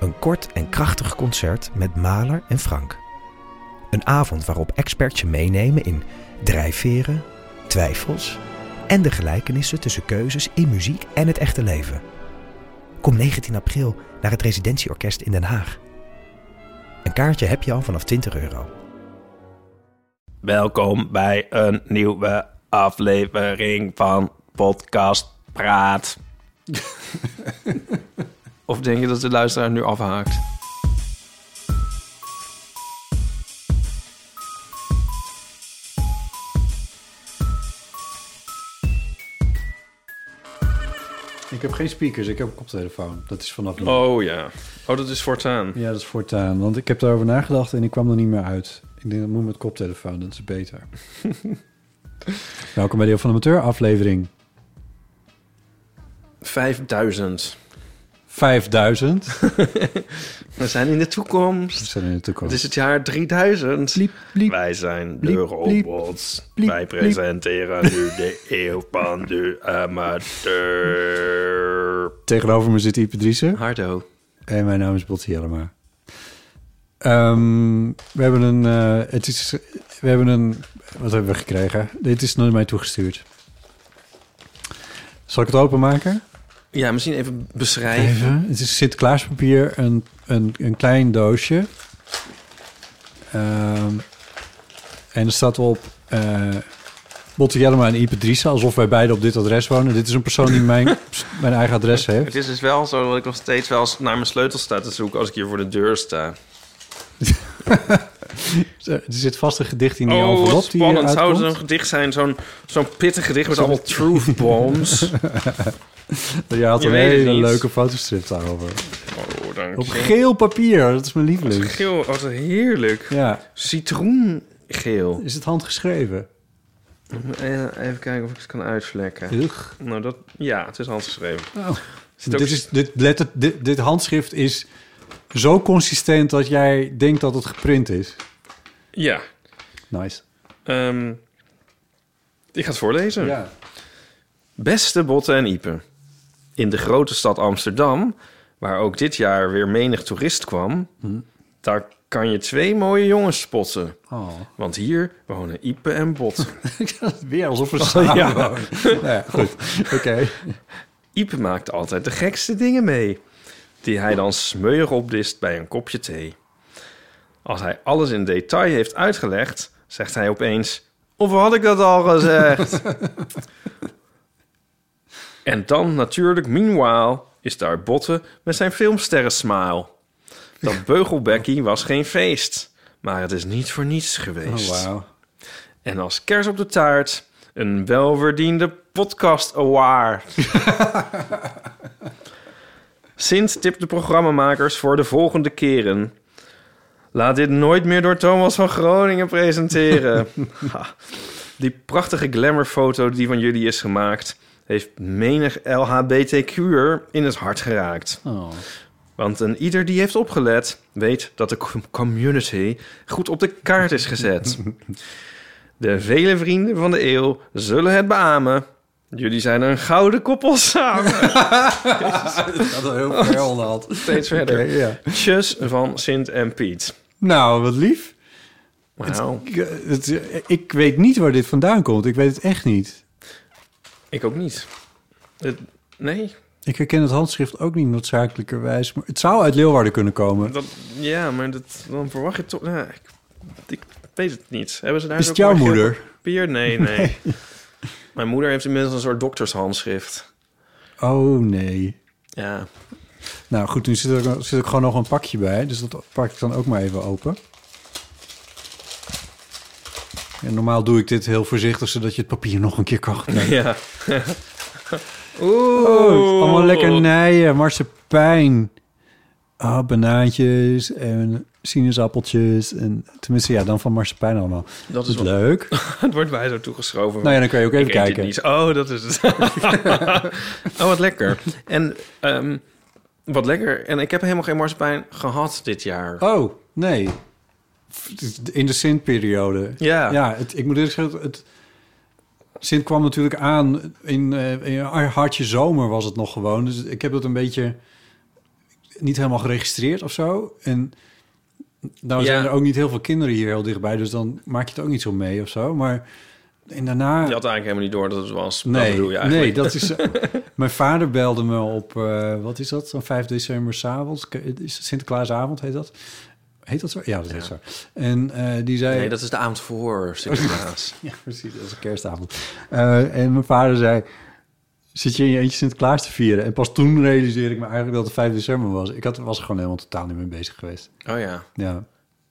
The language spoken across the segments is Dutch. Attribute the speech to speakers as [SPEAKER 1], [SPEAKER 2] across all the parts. [SPEAKER 1] Een kort en krachtig concert met Maler en Frank. Een avond waarop experts je meenemen in drijfveren, twijfels en de gelijkenissen tussen keuzes in muziek en het echte leven. Kom 19 april naar het Residentieorkest in Den Haag. Een kaartje heb je al vanaf 20 euro.
[SPEAKER 2] Welkom bij een nieuwe aflevering van Podcast Praat. of denk je dat de luisteraar nu afhaakt?
[SPEAKER 3] Ik heb geen speakers, ik heb een koptelefoon. Dat is vanaf nu.
[SPEAKER 2] Oh ja. Oh, dat is voortaan.
[SPEAKER 3] Ja, dat is voortaan. Want ik heb daarover nagedacht en ik kwam er niet meer uit. Ik denk, dat moet met koptelefoon, dat is beter. Welkom bij Deel van de Amateur, aflevering
[SPEAKER 2] 5000.
[SPEAKER 3] 5000.
[SPEAKER 2] We zijn in de toekomst.
[SPEAKER 3] We zijn in de
[SPEAKER 2] Het
[SPEAKER 3] toekomst.
[SPEAKER 2] is het jaar 3000.
[SPEAKER 3] Bliep, bliep.
[SPEAKER 2] Wij zijn de
[SPEAKER 3] Bliep, bliep.
[SPEAKER 2] robots.
[SPEAKER 3] Bliep,
[SPEAKER 2] Wij
[SPEAKER 3] bliep.
[SPEAKER 2] presenteren nu de eeuw van de amateur.
[SPEAKER 3] Tegenover me zit Ipe Driessen.
[SPEAKER 2] Hardo.
[SPEAKER 3] En mijn naam is Botti Jellema. Ehm, we hebben een... eh, het is, we hebben een... Wat hebben we gekregen? Dit is naar mij toegestuurd. Zal ik het openmaken?
[SPEAKER 2] Ja, misschien even beschrijven.
[SPEAKER 3] Even. Het is Sinterklaaspapier, een, een, een klein doosje. Ehm, en er staat op eh Botte Jellema en Ipe Driessen, alsof wij beide op dit adres wonen. Dit is een persoon die mijn, mijn eigen adres heeft.
[SPEAKER 2] Het is dus wel zo dat ik nog steeds wel eens naar mijn sleutel sta te zoeken als ik hier voor de deur sta.
[SPEAKER 3] Eh, Er zit vast een gedicht in die
[SPEAKER 2] Oh, wat
[SPEAKER 3] envelop die
[SPEAKER 2] spannend.
[SPEAKER 3] eruit
[SPEAKER 2] Zou het
[SPEAKER 3] komt.
[SPEAKER 2] een gedicht zijn? Zo'n zo'n pittig gedicht met allemaal truth bombs.
[SPEAKER 3] Je had
[SPEAKER 2] Je
[SPEAKER 3] een
[SPEAKER 2] weet het
[SPEAKER 3] hele
[SPEAKER 2] niet.
[SPEAKER 3] leuke fotostrip daarover.
[SPEAKER 2] Oh, dank
[SPEAKER 3] Op
[SPEAKER 2] je.
[SPEAKER 3] geel papier, dat is mijn lieveling.
[SPEAKER 2] Geel, wat heerlijk.
[SPEAKER 3] Ja,
[SPEAKER 2] Citroengeel.
[SPEAKER 3] is het handgeschreven?
[SPEAKER 2] Eh, Even kijken of ik het kan uitvlekken.
[SPEAKER 3] Ugh.
[SPEAKER 2] Nou, dat, ja, het is handgeschreven.
[SPEAKER 3] Oh.
[SPEAKER 2] Zit ook-
[SPEAKER 3] Dit, is, dit, letter, dit, dit handschrift is zo consistent dat jij denkt dat het geprint is.
[SPEAKER 2] Ja.
[SPEAKER 3] Nice.
[SPEAKER 2] ehm, ik ga het voorlezen.
[SPEAKER 3] Ja.
[SPEAKER 2] Beste Botte en Ipe. In de grote stad Amsterdam, waar ook dit jaar weer menig toerist kwam... daar kan je twee mooie jongens spotten.
[SPEAKER 3] Oh.
[SPEAKER 2] Want hier wonen Ipe en Botte.
[SPEAKER 3] Weer alsof we samen
[SPEAKER 2] ja.
[SPEAKER 3] wonen. Oh, Nou ja, goed. Oké.
[SPEAKER 2] Ipe maakt altijd de gekste dingen mee, die hij dan smeuig opdist bij een kopje thee. Als hij alles in detail heeft uitgelegd, zegt hij opeens: Of had ik dat al gezegd? en dan natuurlijk, meanwhile, is daar Botten met zijn filmsterren-smile. Dat beugelbekkie was geen feest, maar het is niet voor niets
[SPEAKER 3] Oh,
[SPEAKER 2] geweest.
[SPEAKER 3] wauw.
[SPEAKER 2] En als kers op de taart, een welverdiende podcast award. Sint tipt de programmamakers voor de volgende keren. Laat dit nooit meer door Thomas van Groningen presenteren. Ha. die prachtige glamourfoto die van jullie is gemaakt... heeft menig LHBTQ'er in het hart geraakt.
[SPEAKER 3] Oh.
[SPEAKER 2] Want een ieder die heeft opgelet, weet dat de com- community goed op de kaart is gezet. De vele vrienden van de eeuw zullen het beamen. Jullie zijn een gouden koppel samen.
[SPEAKER 3] Dat had heel ver onderhand.
[SPEAKER 2] Steeds verder.
[SPEAKER 3] Oké, ja.
[SPEAKER 2] Tjus van Sint en Piet.
[SPEAKER 3] Nou, wat lief.
[SPEAKER 2] Wauw.
[SPEAKER 3] Ik, eh, het, eh, ik weet niet waar dit vandaan komt. Ik weet het echt niet.
[SPEAKER 2] Ik ook niet. Het- nee,
[SPEAKER 3] Ik herken het handschrift ook niet noodzakelijkerwijs. Maar het zou uit Leeuwarden kunnen komen.
[SPEAKER 2] dat, ja, maar dat, dan verwacht je toch... Ja, ik, ik weet het niet. Hebben ze daar
[SPEAKER 3] Is
[SPEAKER 2] zo'n
[SPEAKER 3] het jouw
[SPEAKER 2] mooi
[SPEAKER 3] moeder?
[SPEAKER 2] geel papier? Nee, nee. Mijn moeder heeft inmiddels een soort doktershandschrift.
[SPEAKER 3] Oh, nee.
[SPEAKER 2] Ja,
[SPEAKER 3] Nou goed, nu zit er, ook- zit ook gewoon nog een pakje bij. Dus dat pak ik dan ook maar even open. En normaal doe ik dit heel voorzichtig, zodat je het papier nog een keer kan gebruiken.
[SPEAKER 2] Ja. Oh, Oeh.
[SPEAKER 3] Oh, allemaal lekker nijen, marsepein. ah, banaantjes en sinaasappeltjes. En, tenminste, ja, dan van marsepein allemaal.
[SPEAKER 2] Dat
[SPEAKER 3] Dat
[SPEAKER 2] is
[SPEAKER 3] is
[SPEAKER 2] wel-
[SPEAKER 3] leuk.
[SPEAKER 2] Het wordt mij zo toegeschoven.
[SPEAKER 3] Nou ja, dan kan je ook even
[SPEAKER 2] Ik eet dit
[SPEAKER 3] kijken.
[SPEAKER 2] niet. Oh, dat is het. oh, wat lekker. En ehm, wat lekker. En ik heb helemaal geen marsepein gehad dit jaar.
[SPEAKER 3] Oh, nee. In de Sint-periode.
[SPEAKER 2] Ja.
[SPEAKER 3] Ja, het, ik moet eerlijk zeggen, het, Sint kwam natuurlijk aan in, eh, in een hartje zomer was het nog gewoon. Dus ik heb dat een beetje niet helemaal geregistreerd of zo. En nou
[SPEAKER 2] Ja.
[SPEAKER 3] zijn er ook niet heel veel kinderen hier heel dichtbij, dus dan maak je het ook niet zo mee of zo. Maar en daarna...
[SPEAKER 2] Je had eigenlijk helemaal niet door dat het was. dat
[SPEAKER 3] Nee,
[SPEAKER 2] bedoel je eigenlijk.
[SPEAKER 3] nee, dat is. eh, mijn vader belde me op. eh, wat is dat? Zo'n 5 december 's avonds. K- eh, Is het Sinterklaasavond heet dat? Heet dat zo? Ja, dat heet zo. En eh, die zei.
[SPEAKER 2] Nee, dat is de avond voor Sinterklaas.
[SPEAKER 3] Ja, precies. Dat is een kerstavond. Eh, en mijn vader zei. Zit je in je eentje Sinterklaas te vieren? En pas toen realiseerde ik me eigenlijk dat het 5 december was. Ik had, was er gewoon helemaal totaal niet mee bezig geweest.
[SPEAKER 2] oh ja.
[SPEAKER 3] Ja,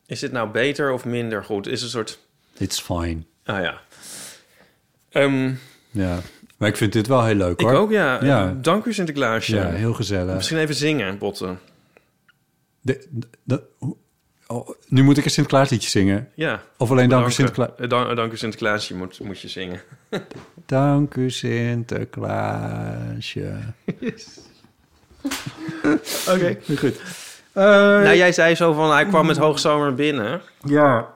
[SPEAKER 2] Is dit nou beter of minder goed? Is een soort...
[SPEAKER 3] it's fine.
[SPEAKER 2] Ah ja. Ehm,
[SPEAKER 3] Ja. Maar ik vind dit wel heel leuk
[SPEAKER 2] ik
[SPEAKER 3] hoor.
[SPEAKER 2] ook, ja.
[SPEAKER 3] Ja.
[SPEAKER 2] Eh, Dank u, Sinterklaasje.
[SPEAKER 3] Ja, heel gezellig.
[SPEAKER 2] Misschien even zingen, Botten.
[SPEAKER 3] De, de- hoe- oh, nu moet ik een Sinterklaas liedje zingen.
[SPEAKER 2] Ja.
[SPEAKER 3] Of alleen dank u
[SPEAKER 2] Bedankt,
[SPEAKER 3] Sinterklaas.
[SPEAKER 2] eh, dan- eh, Dank u, Sinterklaasje moet, moet je zingen.
[SPEAKER 3] Dank u Sinterklaasje.
[SPEAKER 2] Oké, goed. nou, jij zei zo van, hij kwam met hoogzomer binnen.
[SPEAKER 3] Ja.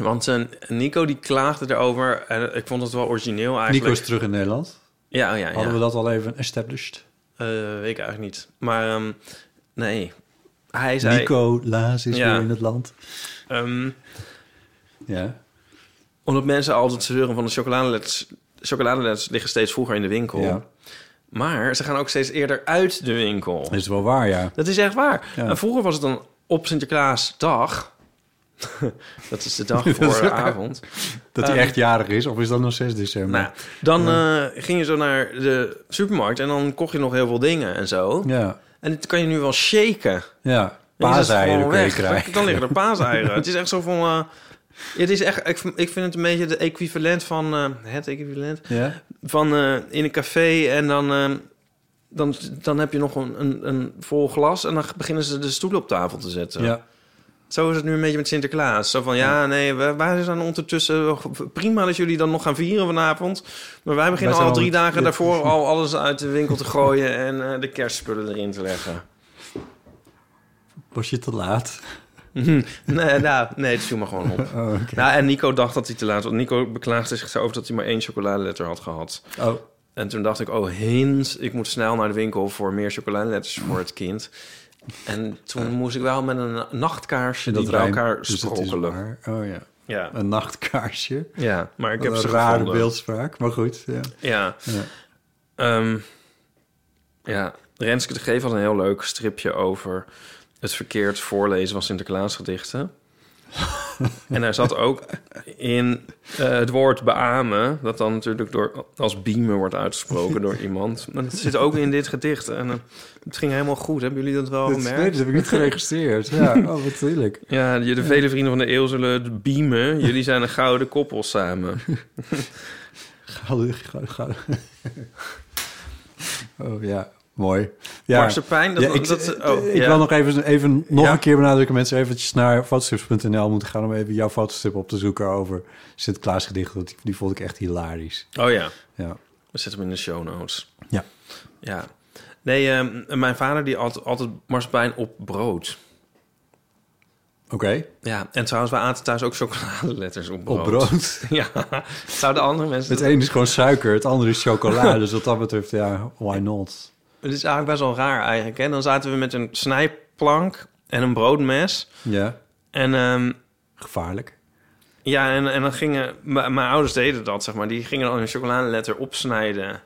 [SPEAKER 2] Want eh, Nico die klaagde erover. En ik vond het wel origineel
[SPEAKER 3] Nico
[SPEAKER 2] eigenlijk.
[SPEAKER 3] is terug in Nederland.
[SPEAKER 2] Ja, oh ja, ja.
[SPEAKER 3] Hadden we dat al even established?
[SPEAKER 2] Eh, weet ik eigenlijk niet. Maar ehm, nee, hij zei...
[SPEAKER 3] Nico Laas is
[SPEAKER 2] Ja.
[SPEAKER 3] weer in het land.
[SPEAKER 2] ehm,
[SPEAKER 3] Ja.
[SPEAKER 2] omdat mensen altijd zeuren van de chocoladeletters... Chocoladeletters liggen steeds vroeger in de winkel.
[SPEAKER 3] ja.
[SPEAKER 2] Maar ze gaan ook steeds eerder uit de winkel.
[SPEAKER 3] Dat is wel waar, ja.
[SPEAKER 2] Dat is echt waar.
[SPEAKER 3] Ja.
[SPEAKER 2] En vroeger was het dan op Sinterklaasdag. dat is de dag voor de avond.
[SPEAKER 3] Dat hij
[SPEAKER 2] Ehm,
[SPEAKER 3] echt jarig is, of is dat nog 6 december?
[SPEAKER 2] Nou, dan eh, ging je zo naar de supermarkt en dan kocht je nog heel veel dingen en zo.
[SPEAKER 3] Ja.
[SPEAKER 2] En dit kan je nu wel shaken.
[SPEAKER 3] Ja.
[SPEAKER 2] Dan is het
[SPEAKER 3] Paaseieren
[SPEAKER 2] gewoon
[SPEAKER 3] kun je
[SPEAKER 2] weg.
[SPEAKER 3] krijgen.
[SPEAKER 2] Dan- Dan liggen er paaseieren. het is echt zo van... eh, het is echt, ik, ik vind het een beetje de equivalent van... eh, het equivalent
[SPEAKER 3] Ja.
[SPEAKER 2] van eh, in een café en dan... eh, dan, dan heb je nog een, een, een vol glas en dan beginnen ze de stoelen op tafel te zetten.
[SPEAKER 3] ja.
[SPEAKER 2] Zo is het nu een beetje met Sinterklaas. Zo van, ja, nee, we- wij zijn ondertussen... Prima dat jullie dan nog gaan vieren vanavond. Maar wij beginnen
[SPEAKER 3] Wij zijn
[SPEAKER 2] al drie
[SPEAKER 3] al-
[SPEAKER 2] dagen
[SPEAKER 3] ja.
[SPEAKER 2] daarvoor al alles uit de winkel te gooien... en eh, de kerstspullen erin te leggen.
[SPEAKER 3] Was je te laat?
[SPEAKER 2] Nee, nou, nee, het viel me gewoon op.
[SPEAKER 3] Mhm. Oh, oké.
[SPEAKER 2] Nou, en Nico dacht dat hij te laat was. Nico beklaagde zich over dat hij maar één chocoladeletter had gehad.
[SPEAKER 3] Oh.
[SPEAKER 2] En toen dacht ik, oh hint, ik moet snel naar de winkel voor meer chocoladeletters voor het kind. En toen moest ik wel met een nachtkaarsje die bij
[SPEAKER 3] rijmt,
[SPEAKER 2] elkaar
[SPEAKER 3] dus het is
[SPEAKER 2] sprokkelen.
[SPEAKER 3] waar. Oh ja.
[SPEAKER 2] Ja,
[SPEAKER 3] Een nachtkaarsje.
[SPEAKER 2] ja, maar ik
[SPEAKER 3] Ik
[SPEAKER 2] heb
[SPEAKER 3] heb een
[SPEAKER 2] ze
[SPEAKER 3] rare
[SPEAKER 2] gevonden.
[SPEAKER 3] beeldspraak, maar goed. Ja.
[SPEAKER 2] Ja.
[SPEAKER 3] Ja.
[SPEAKER 2] Ehm, ja, Renske de Geef had een heel leuk stripje over het verkeerd voorlezen van Sinterklaasgedichten. en daar zat ook in eh, het woord beamen, dat dan natuurlijk door, als biemen wordt uitgesproken door iemand. Maar dat zit ook in dit gedicht. En eh, het ging helemaal goed. Hebben jullie dat wel
[SPEAKER 3] Dat, nee,
[SPEAKER 2] gemerkt?
[SPEAKER 3] dat heb ik niet geregistreerd. Ja, oh, wat heerlijk.
[SPEAKER 2] Ja, je- de vele vrienden van de eeuw zullen het beamen. Jullie zijn een gouden koppel samen.
[SPEAKER 3] Gouden, gouden, gouden. Oh ja, mooi.
[SPEAKER 2] Ja.
[SPEAKER 3] Ja,
[SPEAKER 2] Marsepein, dat...
[SPEAKER 3] ja, ik,
[SPEAKER 2] dat oh,
[SPEAKER 3] ik
[SPEAKER 2] ja.
[SPEAKER 3] wil nog even, even nog
[SPEAKER 2] Ja.
[SPEAKER 3] een keer benadrukken... mensen eventjes naar fotostrips.nl moeten gaan... om even jouw fotostrip op te zoeken over Sinterklaas gedichten. Die, die vond ik echt hilarisch.
[SPEAKER 2] oh ja.
[SPEAKER 3] Ja.
[SPEAKER 2] We zetten hem in de show notes.
[SPEAKER 3] Ja.
[SPEAKER 2] Ja. Nee, ehm, mijn vader die had altijd marsepein op brood.
[SPEAKER 3] Oké,
[SPEAKER 2] Ja, en trouwens, wij aten thuis ook chocoladeletters op brood.
[SPEAKER 3] op brood.
[SPEAKER 2] Ja, zouden andere mensen...
[SPEAKER 3] Het ene is gewoon suiker, het andere is chocola. dus wat dat betreft, ja, why not?
[SPEAKER 2] Het is eigenlijk best wel raar eigenlijk. En dan zaten we met een snijplank en een broodmes.
[SPEAKER 3] Ja,
[SPEAKER 2] En ehm,
[SPEAKER 3] gevaarlijk.
[SPEAKER 2] ja, en, en dan gingen... m- Mijn ouders deden dat, zeg maar. Die gingen dan een chocoladeletter opsnijden...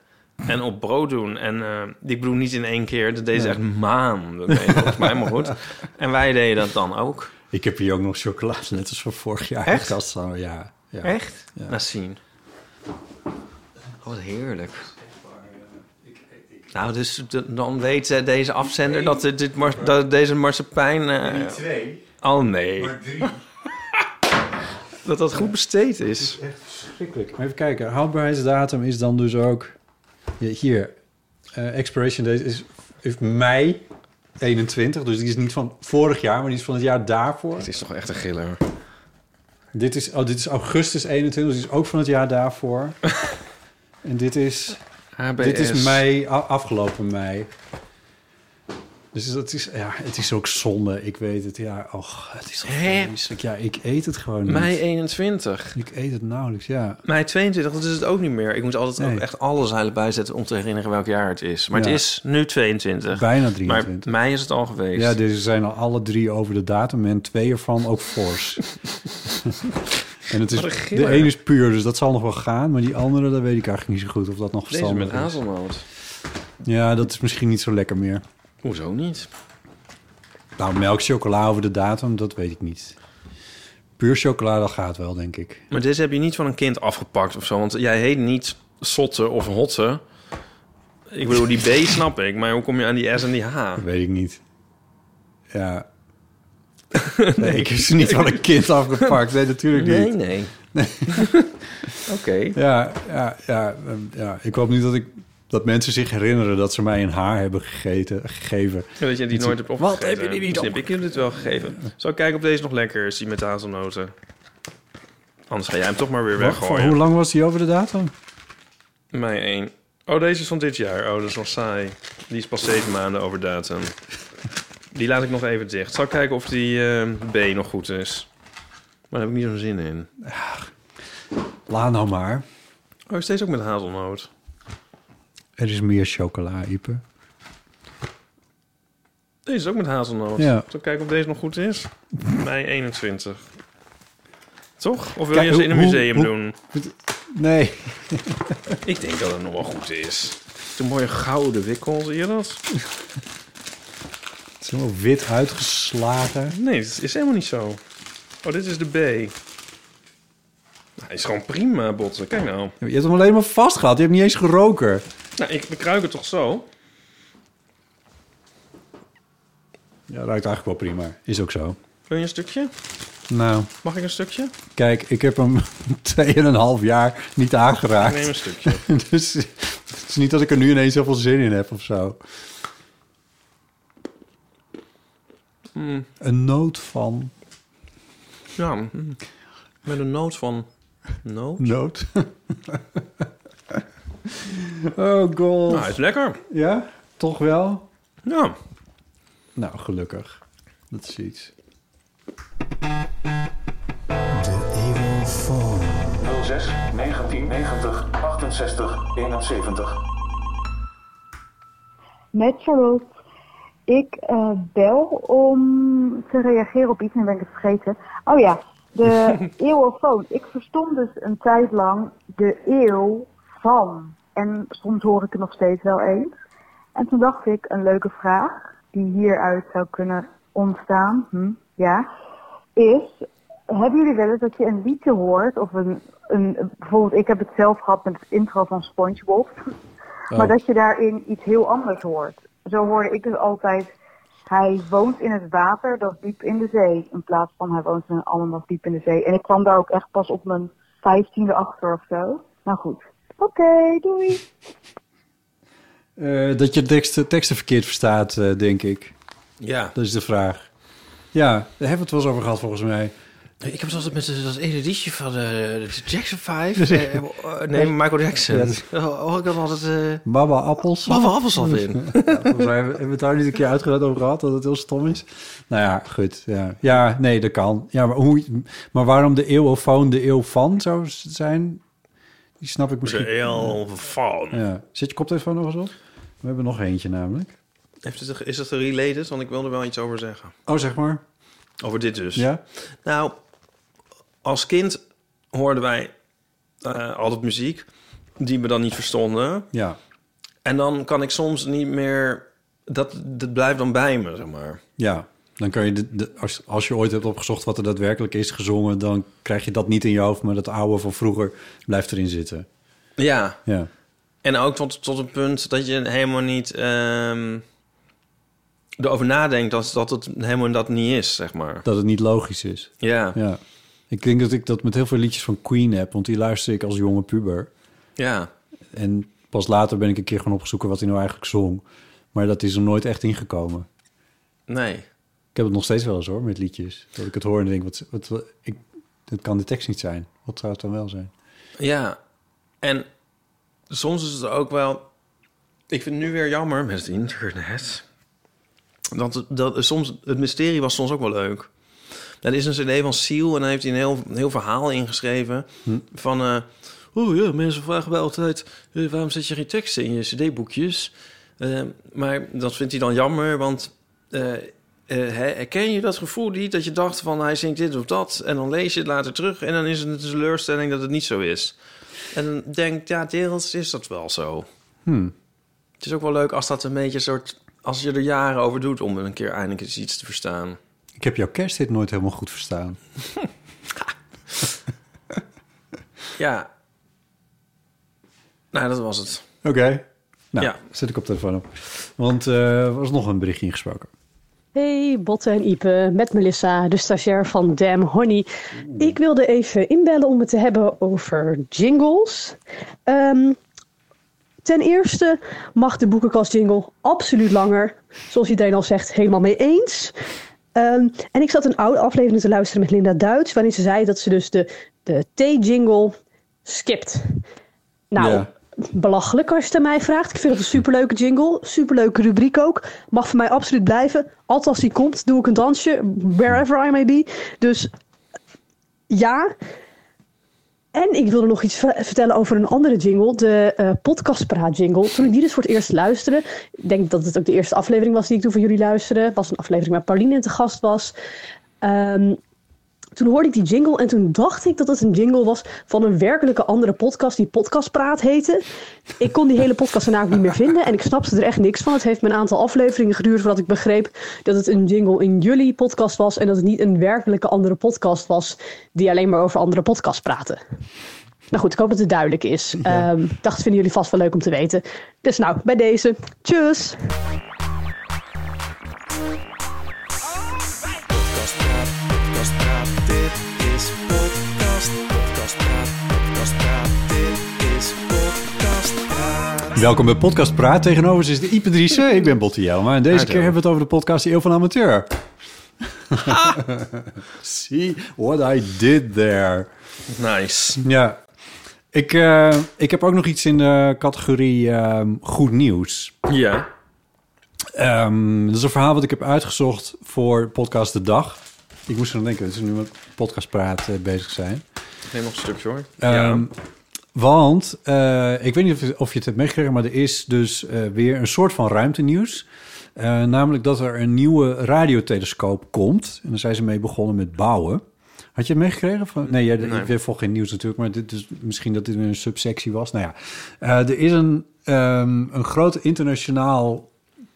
[SPEAKER 2] En op brood doen. En eh, ik bedoel niet in één keer. Dat deden ze echt maanden. mee, Volgens mij maar goed. En wij deden dat dan ook.
[SPEAKER 3] Ik heb hier ook nog chocoladeletters van vorig jaar. in de
[SPEAKER 2] Echt?
[SPEAKER 3] kast staan. Ja, ja.
[SPEAKER 2] Echt?
[SPEAKER 3] Ja.
[SPEAKER 2] Laat zien. Oh, wat heerlijk. Nou, dus d- dan weet eh, deze afzender dat, dit- dit mar- dat deze marsepein... eh,
[SPEAKER 4] Twee,
[SPEAKER 2] oh nee,
[SPEAKER 4] maar drie.
[SPEAKER 2] dat dat goed besteed is.
[SPEAKER 3] Schrikkelijk. Even kijken. Houdbaarheidsdatum is dan dus ook... Ja, hier. Eh, expiration date is, is mei 21, dus die is niet van vorig jaar, maar die is van het jaar daarvoor.
[SPEAKER 2] Het is toch echt een giller. hoor.
[SPEAKER 3] Dit is, oh, dit is augustus 21, dus die is ook van het jaar daarvoor. en dit is,
[SPEAKER 2] HBS.
[SPEAKER 3] dit is mei, a- afgelopen mei. Dus dat is, ja, het is ook zonde, ik weet het. Ja, och, het is toch
[SPEAKER 2] Hè?
[SPEAKER 3] vreselijk. Ja, ik eet het gewoon niet.
[SPEAKER 2] Mei 21.
[SPEAKER 3] Ik eet het nauwelijks, ja.
[SPEAKER 2] Mei 22, dat is het ook niet meer. Ik moet altijd
[SPEAKER 3] Nee.
[SPEAKER 2] ook echt alle zeilen bijzetten om te herinneren welk jaar het is. Maar
[SPEAKER 3] Ja.
[SPEAKER 2] het is nu 22.
[SPEAKER 3] Bijna
[SPEAKER 2] Maar
[SPEAKER 3] 23.
[SPEAKER 2] mei is het al geweest.
[SPEAKER 3] Ja, deze zijn al alle drie over de datum en twee ervan ook fors. en het is,
[SPEAKER 2] Wat een giller.
[SPEAKER 3] de ene is puur, dus dat zal nog wel gaan. Maar die andere, daar weet ik eigenlijk niet zo goed of dat nog
[SPEAKER 2] Deze
[SPEAKER 3] verstandig
[SPEAKER 2] met
[SPEAKER 3] is.
[SPEAKER 2] hazelnoot.
[SPEAKER 3] Ja, dat is misschien niet zo lekker meer.
[SPEAKER 2] Hoezo niet?
[SPEAKER 3] Nou, melk, chocola over de datum, dat weet ik niet. Puur chocola, dat gaat wel, denk ik.
[SPEAKER 2] Maar deze heb je niet van een kind afgepakt of zo. Want jij heet niet Sotte of Hotte. Ik bedoel, die B snap ik. Maar hoe kom je aan die S en die H?
[SPEAKER 3] Dat weet ik niet. Ja. nee, ik heb ze niet van een kind afgepakt. Nee, natuurlijk niet.
[SPEAKER 2] Nee, nee. Oké.
[SPEAKER 3] Ja, ja, ja, ehm, ja, ik hoop niet dat, ik, dat mensen zich herinneren dat ze mij een haar hebben gegeten, gegeven.
[SPEAKER 2] Ja, Dat je die nooit hebt
[SPEAKER 3] Wat
[SPEAKER 2] opgegeten.
[SPEAKER 3] heb je die niet
[SPEAKER 2] Misschien heb Ik heb dit wel gegeven. Zal ik kijken of deze nog lekker is, die met hazelnoten. Anders ga jij hem toch maar weer
[SPEAKER 3] Wacht, voor
[SPEAKER 2] weggooien.
[SPEAKER 3] hoe lang was die over de datum?
[SPEAKER 2] Mei 1. Oh, deze is van dit jaar. Oh, dat is wel saai. Die is pas zeven maanden over datum. Die laat ik nog even dicht. Zal ik kijken of die eh, B nog goed is. Maar daar heb ik niet zo'n zin in.
[SPEAKER 3] Laat nou maar.
[SPEAKER 2] Oh, is deze ook met hazelnoot?
[SPEAKER 3] Er is meer chocola, Ipe.
[SPEAKER 2] Deze is ook met hazelnoot.
[SPEAKER 3] Ja.
[SPEAKER 2] Zal ik kijken of deze nog goed is? Mei 21. Toch? Of wil
[SPEAKER 3] Kijk,
[SPEAKER 2] je ze in een
[SPEAKER 3] hoe-
[SPEAKER 2] museum
[SPEAKER 3] hoe-
[SPEAKER 2] doen?
[SPEAKER 3] Nee.
[SPEAKER 2] Ik denk dat het nog wel goed is. Het is een mooie gouden wikkel, zie je dat?
[SPEAKER 3] Het is helemaal wit uitgeslagen.
[SPEAKER 2] Nee, het is helemaal niet zo. Oh, dit is de B. Nou, Hij is gewoon prima, botten. Kijk nou.
[SPEAKER 3] Je hebt hem alleen maar vast gehad. Je hebt niet eens geroken.
[SPEAKER 2] Nou, ik bekruik het toch zo?
[SPEAKER 3] Ja, ruikt eigenlijk wel prima. Is ook zo.
[SPEAKER 2] Wil je een stukje?
[SPEAKER 3] Nou,
[SPEAKER 2] Mag ik een stukje?
[SPEAKER 3] kijk, ik heb hem 2,5 jaar niet
[SPEAKER 2] Ik
[SPEAKER 3] aangeraakt.
[SPEAKER 2] neem een stukje.
[SPEAKER 3] dus het is niet dat ik er nu ineens heel veel zin in heb of zo. Een noot van
[SPEAKER 2] Ja, mm. met een noot van... Noot?
[SPEAKER 3] noot. oh god.
[SPEAKER 2] Nou, hij is lekker.
[SPEAKER 3] Ja, toch wel?
[SPEAKER 2] Ja.
[SPEAKER 3] Nou, gelukkig. Dat is iets.
[SPEAKER 4] 06 1990 68 71.
[SPEAKER 5] Met Charlotte. Ik eh, bel om te reageren op iets en ben ik het vergeten. Oh ja, de eeuwofoon. Ik verstond dus een tijd lang de eeuw van. En soms hoor ik het nog steeds wel eens. En toen dacht ik, een leuke vraag die hieruit zou kunnen ontstaan, hm, ja, is, hebben jullie wel eens dat je een liedje hoort of een, een, bijvoorbeeld ik heb het zelf gehad met het intro van SpongeBob. Maar dat je daarin iets heel anders hoort. Zo hoorde ik dus altijd, hij woont in het water, dat is diep in de zee. In plaats van hij woont in een alm, dat is diep in de zee. En ik kwam daar ook echt pas op mijn vijftiende achter of zo. Nou goed. Oké, doei.
[SPEAKER 3] Eh, dat je teksten, teksten verkeerd verstaat, eh, denk ik.
[SPEAKER 2] Ja.
[SPEAKER 3] Dat is de vraag. Ja, daar hebben we het wel eens over gehad volgens mij.
[SPEAKER 2] Ik heb het altijd met dat- dat ene liedje van eh, de Jackson 5. eh, eh, nee, Michael Jackson.
[SPEAKER 3] Ja, dat is-
[SPEAKER 2] Daar hoor ik dan altijd... eh
[SPEAKER 3] Baba appels.
[SPEAKER 2] Mama Appelsap in.
[SPEAKER 3] Volgens mij hebben hebben we het daar niet een keer uitgebreid over gehad, dat het heel stom is. Nou ja, goed. Ja, ja nee, dat kan. Ja, maar, hoe, maar waarom de eeuwofoon de eeuw van zou s- zijn, die snap ik misschien.
[SPEAKER 2] Heel van.
[SPEAKER 3] Ja. Zet je koptelefoon nog eens op? We hebben nog eentje namelijk.
[SPEAKER 2] Heeft het, is dat related? Want ik wil er wel iets over zeggen.
[SPEAKER 3] Oh, zeg maar.
[SPEAKER 2] Over dit dus.
[SPEAKER 3] Ja?
[SPEAKER 2] Nou, als kind hoorden wij eh, altijd muziek die we dan niet verstonden.
[SPEAKER 3] Ja.
[SPEAKER 2] En dan kan ik soms niet meer... Dat, dat blijft dan bij me, zeg maar.
[SPEAKER 3] Ja. Dan kan je, de, de- als, als je ooit hebt opgezocht wat er daadwerkelijk is gezongen, dan krijg je dat niet in je hoofd, maar dat oude van vroeger blijft erin zitten.
[SPEAKER 2] Ja.
[SPEAKER 3] Ja.
[SPEAKER 2] En ook tot, tot een punt dat je helemaal niet ehm, erover nadenkt dat, dat het helemaal dat niet is, zeg maar.
[SPEAKER 3] Dat het niet logisch is.
[SPEAKER 2] Ja, ja.
[SPEAKER 3] Ja. Ik denk dat ik dat met heel veel liedjes van Queen heb, want die luister ik als jonge puber. En pas later ben ik een keer gaan opzoeken wat hij nou eigenlijk zong. Maar dat is er nooit echt ingekomen.
[SPEAKER 2] Nee.
[SPEAKER 3] Ik heb het nog steeds wel eens hoor, met liedjes. Dat ik het hoor en denk, wat, wat, wat- ik, het kan de tekst niet zijn. Wat zou het dan wel zijn?
[SPEAKER 2] Ja, en soms is het ook wel... Ik vind het nu weer jammer met het internet. Dat, dat, soms, het mysterie was soms ook wel leuk. Er is een cd van Seal en daar heeft hij een heel, een heel verhaal ingeschreven. Van, eh oh ja, mensen vragen wel altijd... eh, waarom zet je geen teksten in je cd-boekjes? Eh, maar dat vindt hij dan jammer, want... eh, eh, hè, herken je dat gevoel niet dat je dacht van hij zingt dit of dat... en dan lees je het later terug en dan is het een teleurstelling dat het niet zo is. En dan denk ik, ja, deels is dat wel zo.
[SPEAKER 3] Hmm.
[SPEAKER 2] Het is ook wel leuk als dat een beetje een soort... als je er jaren over doet om een keer eindelijk eens iets te verstaan.
[SPEAKER 3] Ik heb jouw kersthit nooit helemaal goed verstaan.
[SPEAKER 2] Ja. Nou, dat was het.
[SPEAKER 3] Oké. Nou,
[SPEAKER 2] Ja.
[SPEAKER 3] zet ik op telefoon op. Want eh, er was nog een berichtje ingesproken.
[SPEAKER 6] Hey, Botte en Ipe, met Melissa, de stagiair van Damn Honey. Ik wilde even inbellen om het te hebben over jingles. Ehm, ten eerste mag de boekenkast jingle absoluut langer. Zoals iedereen al zegt, helemaal mee eens. Ehm, en ik zat een oude aflevering te luisteren met Linda Duits... waarin ze zei dat ze dus de, de T-jingle skipt. Nou,
[SPEAKER 3] Ja.
[SPEAKER 6] belachelijk als je het aan mij vraagt. Ik vind het een superleuke jingle, superleuke rubriek ook. Mag voor mij absoluut blijven. Altijd als die komt, doe ik een dansje, wherever I may be. Dus ja. En ik wilde nog iets ver- vertellen over een andere jingle, de eh podcastpraat jingle. Toen ik die dus voor het eerst luisterde, ik denk dat het ook de eerste aflevering was die ik toen voor jullie luisterde. was een aflevering waar Pauline te gast was. Ehm, toen hoorde ik die jingle en toen dacht ik dat het een jingle was van een werkelijke andere podcast die Podcastpraat heette. Ik kon die hele podcast daarna ook niet meer vinden en ik snapte er echt niks van. Het heeft me een aantal afleveringen geduurd voordat ik begreep dat het een jingle in jullie podcast was en dat het niet een werkelijke andere podcast was die alleen maar over andere podcasts praten. Nou goed, ik hoop dat het duidelijk is. Ehm, dacht, vinden jullie vast wel leuk om te weten. Dus nou, bij deze. Tjus!
[SPEAKER 3] Welkom bij Podcast Praat. Tegenover ons is de Ipe Driessen. Ik ben Botte Jelma. En deze
[SPEAKER 2] Hallo.
[SPEAKER 3] keer hebben we het over de podcast De Eeuw van de Amateur. See what I did there.
[SPEAKER 2] Nice.
[SPEAKER 3] Ja. Ik, eh, ik heb ook nog iets in de categorie ehm, goed nieuws.
[SPEAKER 2] Ja.
[SPEAKER 3] Ehm, dat is een verhaal wat ik heb uitgezocht voor podcast De Dag. Ik moest aan denken, dat ze nu met podcast praat eh, bezig zijn.
[SPEAKER 2] Neem nog een stukje hoor.
[SPEAKER 3] Ehm, Want, eh, ik weet niet of je, of je het hebt meegekregen... maar er is dus eh, weer een soort van ruimtenieuws. Eh, namelijk dat er een nieuwe radiotelescoop komt. En daar zijn ze mee begonnen met bouwen. Had je het meegekregen? Van, nee, jij,
[SPEAKER 2] Nee.
[SPEAKER 3] ik weet volg geen nieuws natuurlijk... maar dit is, misschien dat dit een subsectie was. Nou ja, eh, er is een, ehm, een groot internationaal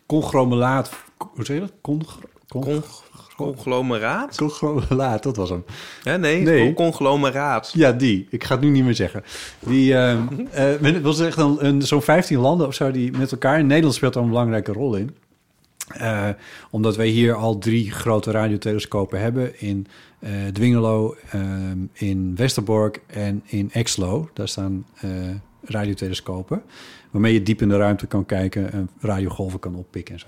[SPEAKER 3] conglomeraat... Hoe zeg je dat? Congro- congro-
[SPEAKER 2] Cong- conglomeraat?
[SPEAKER 3] Conglomeraat, dat was hem.
[SPEAKER 2] Hè, nee,
[SPEAKER 3] Nee.
[SPEAKER 2] conglomeraat.
[SPEAKER 3] Ja, die. Ik ga het nu niet meer zeggen. Die eh, eh, men- wil zeggen een, een, zo'n 15 landen of zo die met elkaar. En Nederland speelt daar een belangrijke rol in. Eh, omdat wij hier al drie grote radiotelescopen hebben in eh, Dwingelo, ehm, in Westerbork en in Exlo. Daar staan eh, radiotelescopen waarmee je diep in de ruimte kan kijken en radiogolven kan oppikken en zo.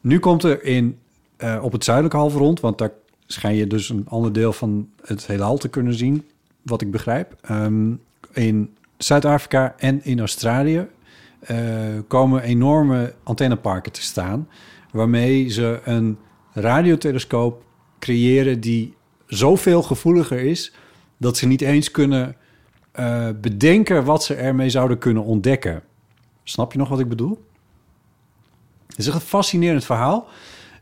[SPEAKER 3] Nu komt er in, eh, op het zuidelijke halfrond, want daar schijn je dus een ander deel van het heelal te kunnen zien, wat ik begrijp. Ehm, in Zuid-Afrika en in Australië eh, komen enorme antenneparken te staan, waarmee ze een radiotelescoop creëren die zoveel gevoeliger is dat ze niet eens kunnen eh, bedenken wat ze ermee zouden kunnen ontdekken. Snap je nog wat ik bedoel? Het is echt een fascinerend verhaal.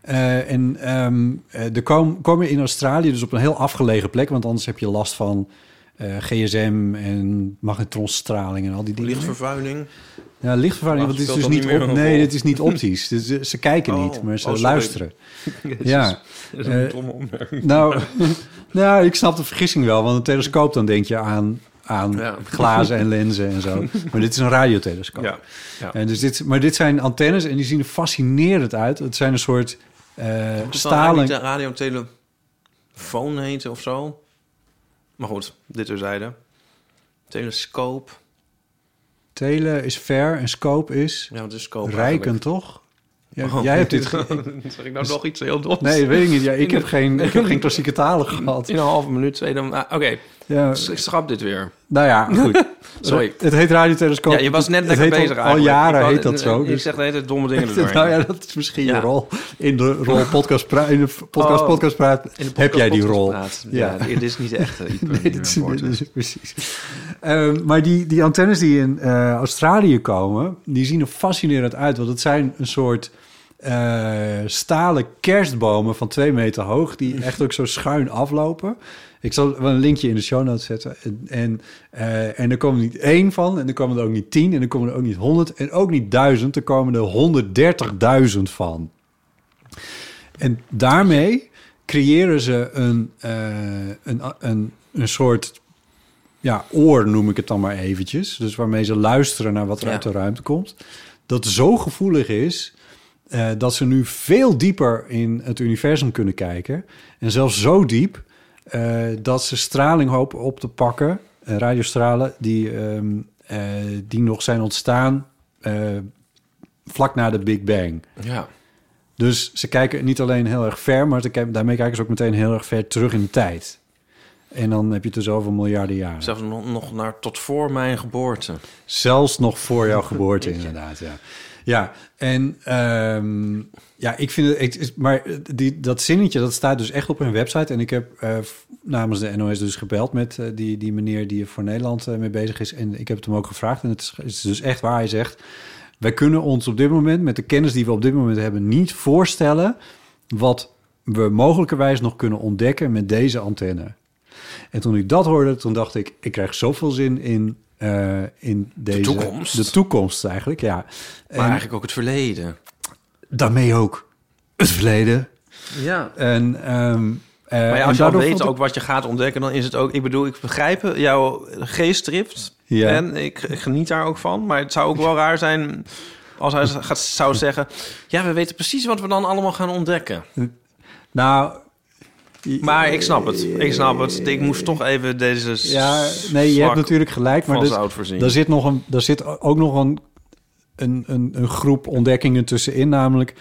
[SPEAKER 3] Eh, en ehm, eh, er kom- komen in Australië dus op een heel afgelegen plek, want anders heb je last van eh, gsm en magnetronstraling en al die dingen.
[SPEAKER 2] Lichtvervuiling.
[SPEAKER 3] Ja, lichtvervuiling,
[SPEAKER 2] Maar
[SPEAKER 3] want dit is
[SPEAKER 2] speelt
[SPEAKER 3] dus
[SPEAKER 2] dat
[SPEAKER 3] niet,
[SPEAKER 2] niet meer
[SPEAKER 3] op,
[SPEAKER 2] een
[SPEAKER 3] nee,
[SPEAKER 2] rol?
[SPEAKER 3] dit is niet optisch. Dus, eh, ze kijken
[SPEAKER 2] Oh,
[SPEAKER 3] niet, maar ze
[SPEAKER 2] oh, sorry.
[SPEAKER 3] luisteren. Ja.
[SPEAKER 2] Dat
[SPEAKER 3] Eh, nou, nou, ik snap de vergissing wel. Want een telescoop, dan denk je aan, aan
[SPEAKER 2] Ja.
[SPEAKER 3] glazen en lenzen en zo. Maar dit is een radiotelescoop.
[SPEAKER 2] Ja. ja.
[SPEAKER 3] En dus dit, maar dit zijn antennes en die zien er fascinerend uit. Het zijn een soort eh, stalen...
[SPEAKER 2] de radiotelefoon heten of zo. Maar goed, dit terzijde. Telescoop.
[SPEAKER 3] Tele is ver en scope is
[SPEAKER 2] Ja, wat is scope
[SPEAKER 3] rijken,
[SPEAKER 2] Oh, eigenlijk? Oh,
[SPEAKER 3] toch? Ja, jij hebt dit... ge-
[SPEAKER 2] zeg ik nou nog iets heel doms?
[SPEAKER 3] Nee, weet ik niet. Ja, ik, heb geen, ik heb geen klassieke talen gehad.
[SPEAKER 2] In een halve minuut, twee dan... ah, Oké,
[SPEAKER 3] Ja,
[SPEAKER 2] s- ik schrap dit weer.
[SPEAKER 3] nou ja, goed.
[SPEAKER 2] Sorry.
[SPEAKER 3] Het heet radiotelescoop.
[SPEAKER 2] Ja, je was net
[SPEAKER 3] Het
[SPEAKER 2] lekker
[SPEAKER 3] heet al-
[SPEAKER 2] bezig
[SPEAKER 3] al
[SPEAKER 2] eigenlijk.
[SPEAKER 3] jaren
[SPEAKER 2] Ik wou-
[SPEAKER 3] heet dat zo,
[SPEAKER 2] Ik
[SPEAKER 3] dus-
[SPEAKER 2] zeg de hele tijd domme dingen erdoorheen.
[SPEAKER 3] nou ja, dat is misschien
[SPEAKER 2] Ja.
[SPEAKER 3] je rol. In de rol podcast, pra- in de v- podcast,
[SPEAKER 2] Oh.
[SPEAKER 3] podcast praat
[SPEAKER 2] In de podcast-
[SPEAKER 3] heb jij die
[SPEAKER 2] podcast
[SPEAKER 3] rol.
[SPEAKER 2] praat. Ja,
[SPEAKER 3] Ja.
[SPEAKER 2] dit is niet de echte Ieper
[SPEAKER 3] Nee,
[SPEAKER 2] die
[SPEAKER 3] dat
[SPEAKER 2] we
[SPEAKER 3] is,
[SPEAKER 2] importen.
[SPEAKER 3] dat is- precies. Ehm, maar die, die antennes die in eh, Australië komen, die zien er fascinerend uit. Want het zijn een soort eh, stalen kerstbomen van twee meter hoog, die echt ook zo schuin aflopen. Ik zal wel een linkje in de show notes zetten. En, en, eh, en er komen niet één van, en er komen er ook niet tien, en er komen er ook niet honderd, en ook niet duizend. Er komen er honderddertigduizend van. En daarmee creëren ze een, eh, een, een, een soort ja, oor, noem ik het dan maar eventjes. Dus waarmee ze luisteren naar wat er
[SPEAKER 2] Ja.
[SPEAKER 3] uit de ruimte komt. Dat zo gevoelig is eh, dat ze nu veel dieper in het universum kunnen kijken. En zelfs zo diep eh, dat ze straling hopen op te pakken. eh, radiostralen die, ehm, eh, die nog zijn ontstaan eh, vlak na de Big Bang.
[SPEAKER 2] Ja.
[SPEAKER 3] Dus ze kijken niet alleen heel erg ver, maar ze kijken- daarmee kijken ze ook meteen heel erg ver terug in de tijd. En dan heb je het er zoveel miljarden jaren.
[SPEAKER 2] Zelfs nog, nog naar tot voor mijn geboorte.
[SPEAKER 3] Zelfs nog voor jouw geboorte, inderdaad. Ja, ja en ehm, ja, ik vind het. ik- is- maar die, dat zinnetje dat staat dus echt op hun website. En ik heb eh, f- namens de NOS dus gebeld met eh, die, die meneer die er voor Nederland eh, mee bezig is. En ik heb het hem ook gevraagd. En het is, het is dus echt waar. Hij zegt: Wij kunnen ons op dit moment, met de kennis die we op dit moment hebben, niet voorstellen wat we mogelijkerwijs nog kunnen ontdekken met deze antenne. En toen ik dat hoorde, toen dacht ik, ik krijg zoveel zin in, eh, in deze...
[SPEAKER 2] toekomst.
[SPEAKER 3] De toekomst eigenlijk, ja.
[SPEAKER 2] Maar
[SPEAKER 3] en
[SPEAKER 2] eigenlijk ook het verleden.
[SPEAKER 3] daarmee ook het verleden.
[SPEAKER 2] Ja.
[SPEAKER 3] En, ehm, eh,
[SPEAKER 2] Maar ja,
[SPEAKER 3] en
[SPEAKER 2] als je al
[SPEAKER 3] daardoor
[SPEAKER 2] weet
[SPEAKER 3] vond ik-
[SPEAKER 2] ook wat je gaat ontdekken, dan is het ook... Ik bedoel, ik begrijp het, jouw geestdrift.
[SPEAKER 3] Ja.
[SPEAKER 2] En ik geniet daar ook van. Maar het zou ook wel raar zijn als hij gaat, zou zeggen... Ja, we weten precies wat we dan allemaal gaan ontdekken.
[SPEAKER 3] Nou, i-
[SPEAKER 2] Maar ik snap het. Ik snap het. Ik moest toch even deze... s-
[SPEAKER 3] ja, nee, je
[SPEAKER 2] zwak
[SPEAKER 3] hebt natuurlijk gelijk, maar
[SPEAKER 2] van
[SPEAKER 3] dus,
[SPEAKER 2] zout voorzien.
[SPEAKER 3] daar zit, nog een, daar zit ook nog een, een, een, een groep ontdekkingen tussenin. Namelijk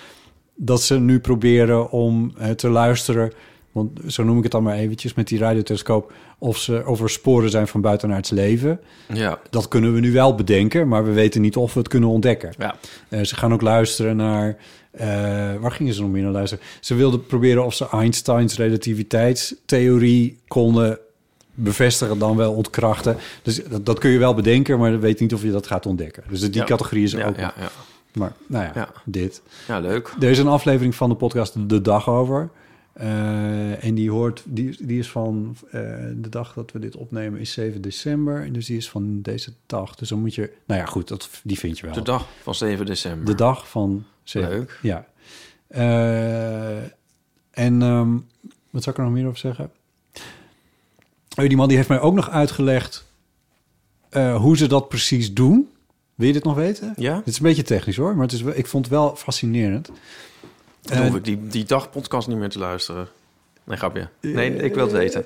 [SPEAKER 3] dat ze nu proberen om eh, te luisteren... want zo noem ik het dan maar eventjes met die radiotelescoop... of, ze, of er sporen zijn van buitenaards leven.
[SPEAKER 2] Ja.
[SPEAKER 3] Dat kunnen we nu wel bedenken, maar we weten niet of we het kunnen ontdekken.
[SPEAKER 2] Ja.
[SPEAKER 3] Eh, ze gaan ook luisteren naar... eh, waar gingen ze nog meer naar luisteren? Ze wilden proberen of ze Einsteins relativiteitstheorie konden bevestigen, dan wel ontkrachten. Dus dat, dat kun je wel bedenken, maar je weet niet of je dat gaat ontdekken. Dus die
[SPEAKER 2] Ja.
[SPEAKER 3] categorie is er
[SPEAKER 2] Ja,
[SPEAKER 3] ook.
[SPEAKER 2] ja,
[SPEAKER 3] nog.
[SPEAKER 2] ja.
[SPEAKER 3] Maar nou ja,
[SPEAKER 2] Ja.
[SPEAKER 3] dit.
[SPEAKER 2] ja, leuk.
[SPEAKER 3] Er is een aflevering van de podcast De Dag Over. Eh, en die, hoort, die, die is van eh, de dag dat we dit opnemen is 7 december. En dus die is van deze dag. Dus dan moet je... Nou ja, goed, dat, die vind je wel.
[SPEAKER 2] De dag van 7 december.
[SPEAKER 3] De dag van zeven.
[SPEAKER 2] Leuk.
[SPEAKER 3] Ja. Eh, en ehm, wat zou ik er nog meer over zeggen? Oh, die man die heeft mij ook nog uitgelegd eh, hoe ze dat precies doen. Wil je dit nog weten?
[SPEAKER 2] Ja?
[SPEAKER 3] Het is een beetje technisch hoor, maar het is, wel- ik vond het wel fascinerend.
[SPEAKER 2] Dan
[SPEAKER 3] Eh,
[SPEAKER 2] hoef ik die, die dag podcast niet meer te luisteren. Nee, grapje.
[SPEAKER 3] Eh,
[SPEAKER 2] Nee, ik wil het weten.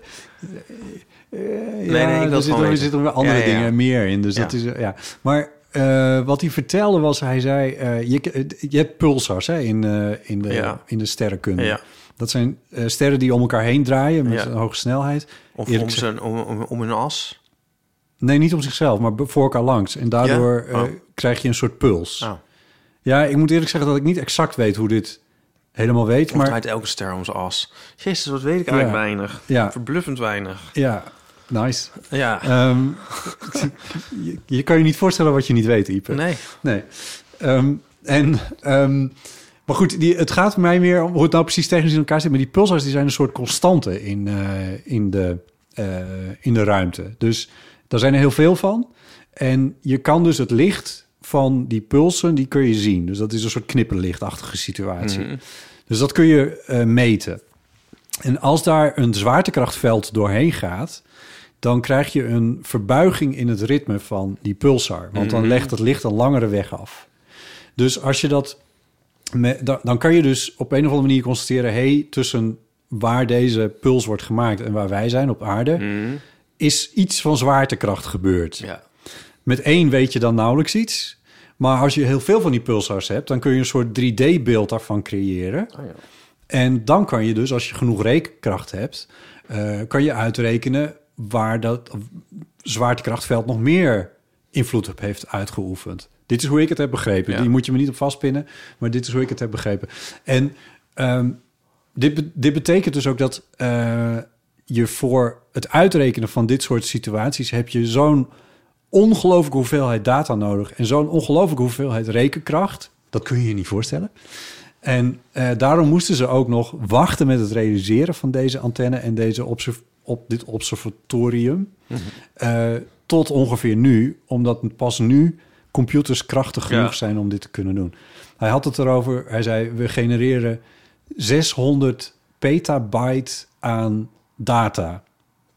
[SPEAKER 3] nee,
[SPEAKER 2] nee, ik wil het
[SPEAKER 3] Eh, er zitten,
[SPEAKER 2] gewoon
[SPEAKER 3] er
[SPEAKER 2] weten.
[SPEAKER 3] zitten weer andere
[SPEAKER 2] Ja, ja, ja.
[SPEAKER 3] dingen meer in. Dus
[SPEAKER 2] Ja.
[SPEAKER 3] dat is, ja. Maar eh, wat hij vertelde was, hij zei, eh, je, je hebt pulsars hè, in, eh, in, de,
[SPEAKER 2] Ja.
[SPEAKER 3] in de sterrenkunde.
[SPEAKER 2] Ja.
[SPEAKER 3] Dat zijn eh, sterren die om elkaar heen draaien met
[SPEAKER 2] Ja.
[SPEAKER 3] een hoge snelheid.
[SPEAKER 2] Of
[SPEAKER 3] Eerlijk
[SPEAKER 2] om,
[SPEAKER 3] gezegd-
[SPEAKER 2] zijn, om, om, om hun as.
[SPEAKER 3] Nee, niet om zichzelf, maar voor elkaar langs. En daardoor
[SPEAKER 2] Ja?
[SPEAKER 3] eh,
[SPEAKER 2] Oh.
[SPEAKER 3] krijg je een soort puls.
[SPEAKER 2] Oh.
[SPEAKER 3] Ja, ik moet eerlijk zeggen dat ik niet exact weet hoe dit helemaal weet.
[SPEAKER 2] Maar...
[SPEAKER 3] Maar
[SPEAKER 2] draait elke ster om zijn as. Jezus, dat weet ik eigenlijk
[SPEAKER 3] Ja.
[SPEAKER 2] weinig.
[SPEAKER 3] Ja.
[SPEAKER 2] Verbluffend weinig.
[SPEAKER 3] ja, nice.
[SPEAKER 2] Ja.
[SPEAKER 3] Ehm, je, je kan je niet voorstellen wat je niet weet, Ipe.
[SPEAKER 2] nee.
[SPEAKER 3] Nee. Ehm, en, ehm, maar goed, die, het gaat mij meer om hoe het nou precies technisch in elkaar zit. Maar die pulsars die zijn een soort constante in, eh, in, de, eh, in de ruimte. Dus daar zijn er heel veel van. En je kan dus het licht van die pulsen, die kun je zien. Dus dat is een soort knipperlichtachtige situatie. Dus dat kun je eh, meten. En als daar een zwaartekrachtveld doorheen gaat, dan krijg je een verbuiging in het ritme van die pulsar. Want dan legt het licht een langere weg af. Dus als je dat. me- dan, dan kan je dus op een of andere manier constateren: hé, hey, tussen waar deze puls wordt gemaakt en waar wij zijn op aarde, is iets van zwaartekracht gebeurd.
[SPEAKER 2] Ja.
[SPEAKER 3] Met één weet je dan nauwelijks iets. Maar als je heel veel van die pulsars hebt, dan kun je een soort 3D-beeld daarvan creëren. En dan kan je dus, als je genoeg rekenkracht hebt, eh, kan je uitrekenen waar dat zwaartekrachtveld nog meer invloed op heeft uitgeoefend. Dit is hoe ik het heb begrepen.
[SPEAKER 2] Ja.
[SPEAKER 3] Die moet je me niet op vastpinnen, maar dit is hoe ik het heb begrepen. En ehm, dit, be- dit betekent dus ook dat eh, je voor het uitrekenen van dit soort situaties heb je zo'n ongelooflijke hoeveelheid data nodig en zo'n ongelooflijke hoeveelheid rekenkracht. Dat kun je je niet voorstellen. En eh, daarom moesten ze ook nog wachten met het realiseren van deze antenne en deze observ- op dit observatorium. eh, tot ongeveer nu, omdat pas nu computers krachtig
[SPEAKER 2] Ja.
[SPEAKER 3] genoeg zijn om dit te kunnen doen. Hij had het erover, hij zei: we genereren 600 petabyte aan data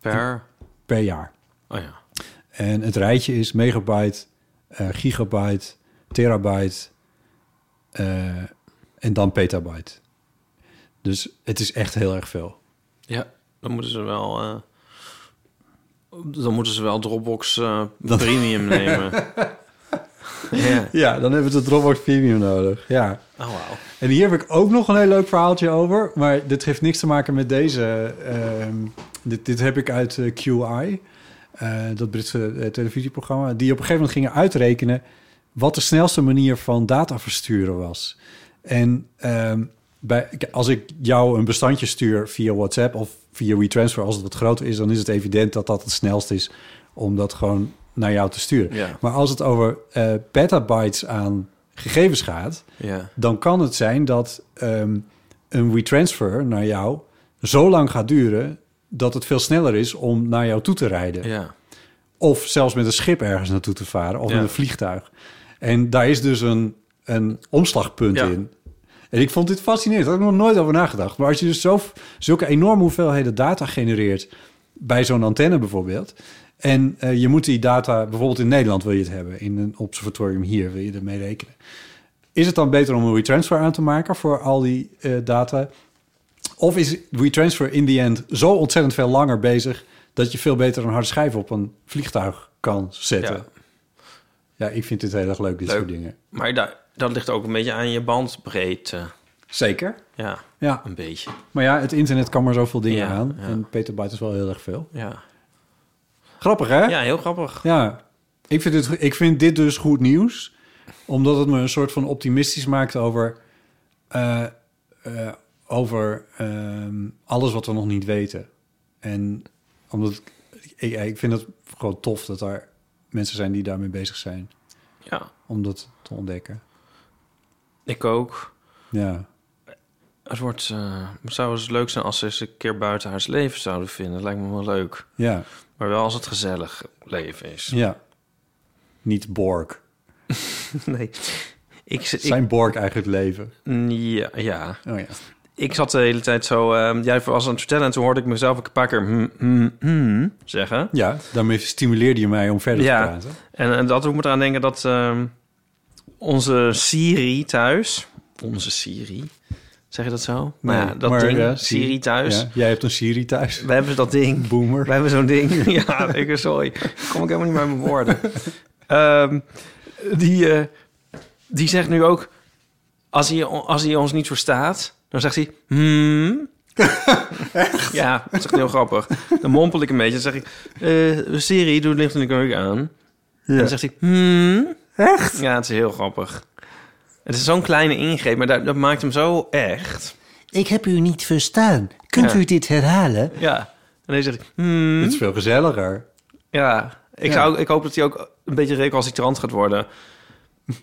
[SPEAKER 2] Per...
[SPEAKER 3] per jaar.
[SPEAKER 2] Oh ja.
[SPEAKER 3] En het rijtje is megabyte, eh, gigabyte, terabyte eh, en dan petabyte. Dus het is echt heel erg veel.
[SPEAKER 2] Ja, dan moeten ze wel... eh, dan moeten ze wel Dropbox eh, Premium nemen. Ja.
[SPEAKER 3] Ja, dan hebben we de Dropbox Premium nodig. Ja.
[SPEAKER 2] Oh, wauw.
[SPEAKER 3] En hier heb ik ook nog een heel leuk verhaaltje over. Maar dit heeft niks te maken met deze. ehm, dit, dit heb ik uit eh, QI, eh, dat Britse eh, televisieprogramma. Die op een gegeven moment gingen uitrekenen wat de snelste manier van data versturen was. En ehm, bij, k- als ik jou een bestandje stuur via WhatsApp of via WeTransfer, als het wat groter is, dan is het evident dat dat het snelst is om dat gewoon naar jou te sturen.
[SPEAKER 2] Ja.
[SPEAKER 3] Maar als het over eh, petabytes aan gegevens gaat,
[SPEAKER 2] Ja.
[SPEAKER 3] dan kan het zijn dat ehm, een retransfer naar jou zo lang gaat duren dat het veel sneller is om naar jou toe te rijden.
[SPEAKER 2] Ja.
[SPEAKER 3] Of zelfs met een schip ergens naartoe te varen of
[SPEAKER 2] Ja.
[SPEAKER 3] met een vliegtuig. En daar is dus een, een omslagpunt
[SPEAKER 2] Ja.
[SPEAKER 3] in. En ik vond dit fascinerend. Daar had ik nog nooit over nagedacht. Maar als je dus zo, zulke enorme hoeveelheden data genereert... bij zo'n antenne bijvoorbeeld... en eh, je moet die data... bijvoorbeeld in Nederland wil je het hebben... in een observatorium hier wil je ermee rekenen... is het dan beter om een retransfer aan te maken... voor al die eh, data? Of is retransfer in the end zo ontzettend veel langer bezig... dat je veel beter een harde schijf op een vliegtuig kan zetten?
[SPEAKER 2] Ja.
[SPEAKER 3] Ja, ik vind dit heel erg leuk, dit
[SPEAKER 2] Leuk.
[SPEAKER 3] soort dingen.
[SPEAKER 2] Maar daar, dat ligt ook een beetje aan je bandbreedte.
[SPEAKER 3] Zeker.
[SPEAKER 2] Ja,
[SPEAKER 3] Ja,
[SPEAKER 2] een beetje.
[SPEAKER 3] maar ja, het internet kan maar zoveel dingen
[SPEAKER 2] Ja,
[SPEAKER 3] aan.
[SPEAKER 2] ja.
[SPEAKER 3] En petabyte is wel heel erg veel.
[SPEAKER 2] Ja,
[SPEAKER 3] Grappig, hè?
[SPEAKER 2] ja heel grappig.
[SPEAKER 3] Ja. Ik, vind dit, ik vind dit dus goed nieuws. Omdat het me een soort van optimistisch maakt over... eh, eh, over ehm, alles wat we nog niet weten. En omdat... Ik, ik, ik vind het gewoon tof dat er mensen zijn die daarmee bezig zijn.
[SPEAKER 2] Ja,
[SPEAKER 3] Om dat te ontdekken.
[SPEAKER 2] ik ook.
[SPEAKER 3] Ja.
[SPEAKER 2] Het wordt, eh, het zou eens leuk zijn als ze eens een keer buiten haar leven zouden vinden. Dat lijkt me wel leuk.
[SPEAKER 3] Ja.
[SPEAKER 2] Maar wel als het gezellig leven is.
[SPEAKER 3] Ja. Niet Borg.
[SPEAKER 2] Nee. Ik, zit- ik,
[SPEAKER 3] Zijn Borg eigenlijk leven?
[SPEAKER 2] ja, ja,
[SPEAKER 3] Oh ja.
[SPEAKER 2] ik zat de hele tijd zo... ehm, jij was aan het vertellen en toen hoorde ik mezelf ook een paar keer... Hmm, hmm, hmm zeggen.
[SPEAKER 3] Ja, daarmee stimuleerde je mij om verder
[SPEAKER 2] Ja.
[SPEAKER 3] te praten.
[SPEAKER 2] En, en dat doet me eraan denken dat ehm, onze Siri thuis... Onze Siri? Zeg je dat zo? nou ja,
[SPEAKER 3] Nee,
[SPEAKER 2] dat
[SPEAKER 3] maar,
[SPEAKER 2] ding,
[SPEAKER 3] ja,
[SPEAKER 2] Siri, thuis.
[SPEAKER 3] Ja, jij hebt een Siri thuis.
[SPEAKER 2] We hebben dat ding.
[SPEAKER 3] Boomer.
[SPEAKER 2] We hebben zo'n ding. ja, ik sorry. Kom ik helemaal niet bij mijn woorden. Ehm, die, eh, die zegt nu ook... Als hij, on- als hij ons niet verstaat, dan zegt hij... Hmm. Ja, dat is echt heel grappig. Dan mompel ik een beetje. Dan zeg ik... eh, Siri, doe het licht in de keuken aan. En dan zegt hij... Hmm. Echt? Ja, het is heel grappig. Het is zo'n kleine ingreep, maar dat, dat maakt hem zo echt.
[SPEAKER 7] Ik heb u niet verstaan. Kunt
[SPEAKER 2] Ja.
[SPEAKER 7] u dit herhalen?
[SPEAKER 2] Ja. En dan zegt hij... Hmm.
[SPEAKER 3] Dit is veel gezelliger.
[SPEAKER 2] Ja, ik, Zou, ik hoop dat hij ook een beetje recalcitrant gaat worden.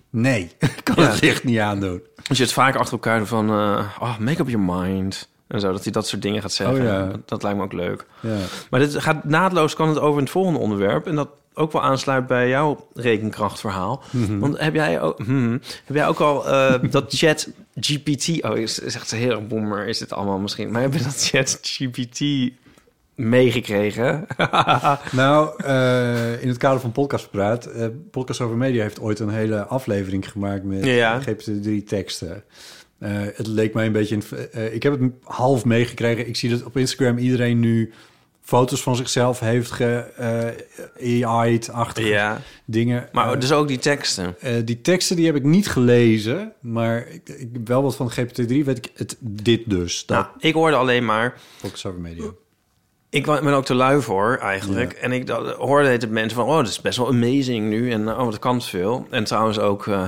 [SPEAKER 3] Nee, ik kan het licht niet aandoen.
[SPEAKER 2] Want je het vaak achter elkaar doet van... eh, oh, make up your mind. En zo, dat hij dat soort dingen gaat zeggen.
[SPEAKER 3] Oh, ja.
[SPEAKER 2] dat, dat lijkt me ook leuk.
[SPEAKER 3] Ja.
[SPEAKER 2] Maar dit gaat naadloos kan het over het volgende onderwerp. En dat ook wel aansluit bij jouw rekenkrachtverhaal.
[SPEAKER 3] Mhm.
[SPEAKER 2] Want heb jij ook, hmm, heb jij ook al eh, dat chat GPT... Oh, is, is echt een hele boomer is dit allemaal misschien. Maar heb je dat chat GPT meegekregen?
[SPEAKER 3] Nou, eh, in het kader van podcastpraat, eh Podcast over Media heeft ooit een hele aflevering gemaakt met
[SPEAKER 2] Ja.
[SPEAKER 3] GPT-3 teksten. Eh, het leek mij een beetje... een- eh, ik heb het half meegekregen. Ik zie dat op Instagram iedereen nu foto's van zichzelf heeft ge-AI'd, achtige
[SPEAKER 2] Ja,
[SPEAKER 3] dingen.
[SPEAKER 2] maar
[SPEAKER 3] Eh,
[SPEAKER 2] dus ook die teksten.
[SPEAKER 3] eh, die teksten die heb ik niet gelezen, maar ik, ik heb wel wat van GPT-3 weet ik het, dit dus. Dat
[SPEAKER 2] Nou, ik hoorde alleen maar...
[SPEAKER 3] Fox Over Media.
[SPEAKER 2] Ik wa- ben ook te lui voor, eigenlijk. En ik da- hoorde het mensen van... oh, dat is best wel amazing nu. En oh, dat kan veel. En trouwens ook eh,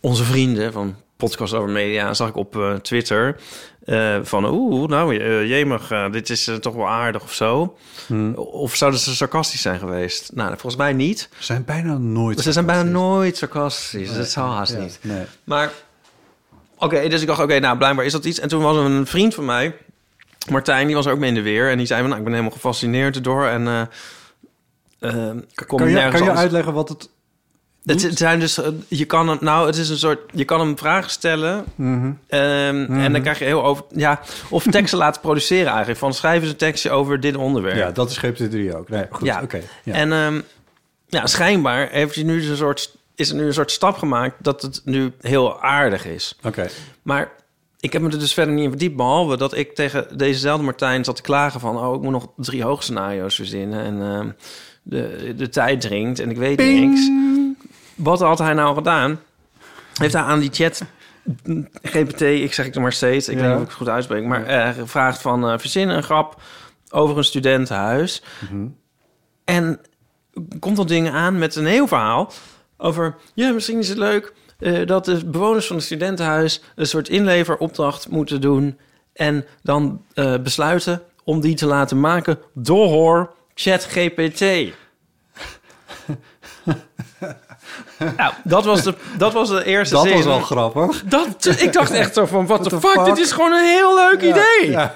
[SPEAKER 2] onze vrienden van Podcast Over Media... zag ik op eh, Twitter eh, van... oeh, nou, eh, jemig, eh, dit is eh, toch wel aardig of zo.
[SPEAKER 3] Hmm.
[SPEAKER 2] Of zouden ze sarcastisch zijn geweest? Nou, volgens mij niet.
[SPEAKER 3] Ze zijn bijna nooit.
[SPEAKER 2] Ze zijn bijna
[SPEAKER 3] sarcastisch.
[SPEAKER 2] nooit sarcastisch. dat zou haast
[SPEAKER 3] Ja,
[SPEAKER 2] niet.
[SPEAKER 3] nee.
[SPEAKER 2] Maar oké, dus ik dacht, oké, nou blijkbaar is dat iets. En toen was een vriend van mij, Martijn, die was er ook mee in de weer. En die zei van, nou, ik ben helemaal gefascineerd erdoor. En eh, eh, ik kom
[SPEAKER 3] Kan je,
[SPEAKER 2] nergens
[SPEAKER 3] kan je
[SPEAKER 2] anders-
[SPEAKER 3] uitleggen wat het...
[SPEAKER 2] Het is- het zijn dus, eh, je kan hem, nou, het is een soort, je kan hem vragen stellen.
[SPEAKER 3] Mhm.
[SPEAKER 2] ehm, En dan krijg je heel over, ja, of teksten laten produceren eigenlijk. Van schrijven ze een tekstje over dit onderwerp.
[SPEAKER 3] Ja, dat is GPT-3 ook. Nee, goed, oké. ja.
[SPEAKER 2] En ehm, ja, schijnbaar heeft hij nu dus een soort, is er nu een soort stap gemaakt dat het nu heel aardig is.
[SPEAKER 3] Oké.
[SPEAKER 2] Maar ik heb me er dus verder niet in verdiept. Behalve dat ik tegen dezezelfde Martijn zat te klagen van... oh, ik moet nog drie hoogscenario's verzinnen. En ehm, de, de tijd dringt en ik weet niks. Wat had hij nou gedaan? Heeft hij aan die chat... GPT, ik zeg het maar steeds. Ik
[SPEAKER 3] Ja.
[SPEAKER 2] weet niet of ik het goed uitspreek. Maar eh, gevraagd van eh verzin een grap over een studentenhuis.
[SPEAKER 3] Mhm.
[SPEAKER 2] En komt dat ding aan met een heel verhaal over... ja, misschien is het leuk eh, dat de bewoners van het studentenhuis... een soort inleveropdracht moeten doen... en dan eh, besluiten om die te laten maken door ChatGPT. nou, dat was de, dat was de eerste
[SPEAKER 3] Dat
[SPEAKER 2] zin.
[SPEAKER 3] was wel grappig.
[SPEAKER 2] Dat, ik dacht echt zo van, what, the,
[SPEAKER 3] the
[SPEAKER 2] fuck?
[SPEAKER 3] fuck?
[SPEAKER 2] dit is gewoon een heel leuk idee. Ja.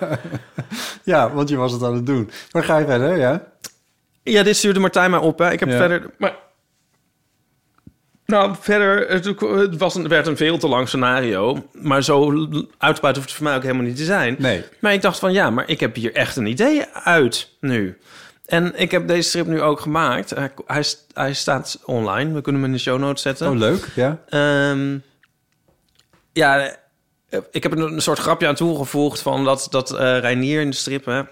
[SPEAKER 3] Ja, want je was het aan het doen. Maar ga je verder, ja?
[SPEAKER 2] dit stuurde Martijn mij op. Hè. Ik heb
[SPEAKER 3] Ja.
[SPEAKER 2] verder... Maar, nou, verder, het, het was een, werd een veel te lang scenario. Maar zo l- uitbuiten hoeft het voor mij ook helemaal niet te zijn.
[SPEAKER 3] Nee.
[SPEAKER 2] Maar ik dacht van, ja, maar ik heb hier echt een idee uit nu. En ik heb deze strip nu ook gemaakt. Hij, hij, hij staat online. We kunnen hem in de show notes zetten.
[SPEAKER 3] Oh, leuk, ja.
[SPEAKER 2] Ehm, ja, eh, ik heb er een soort grapje aan toegevoegd van dat, dat eh Reinier in de strip hè,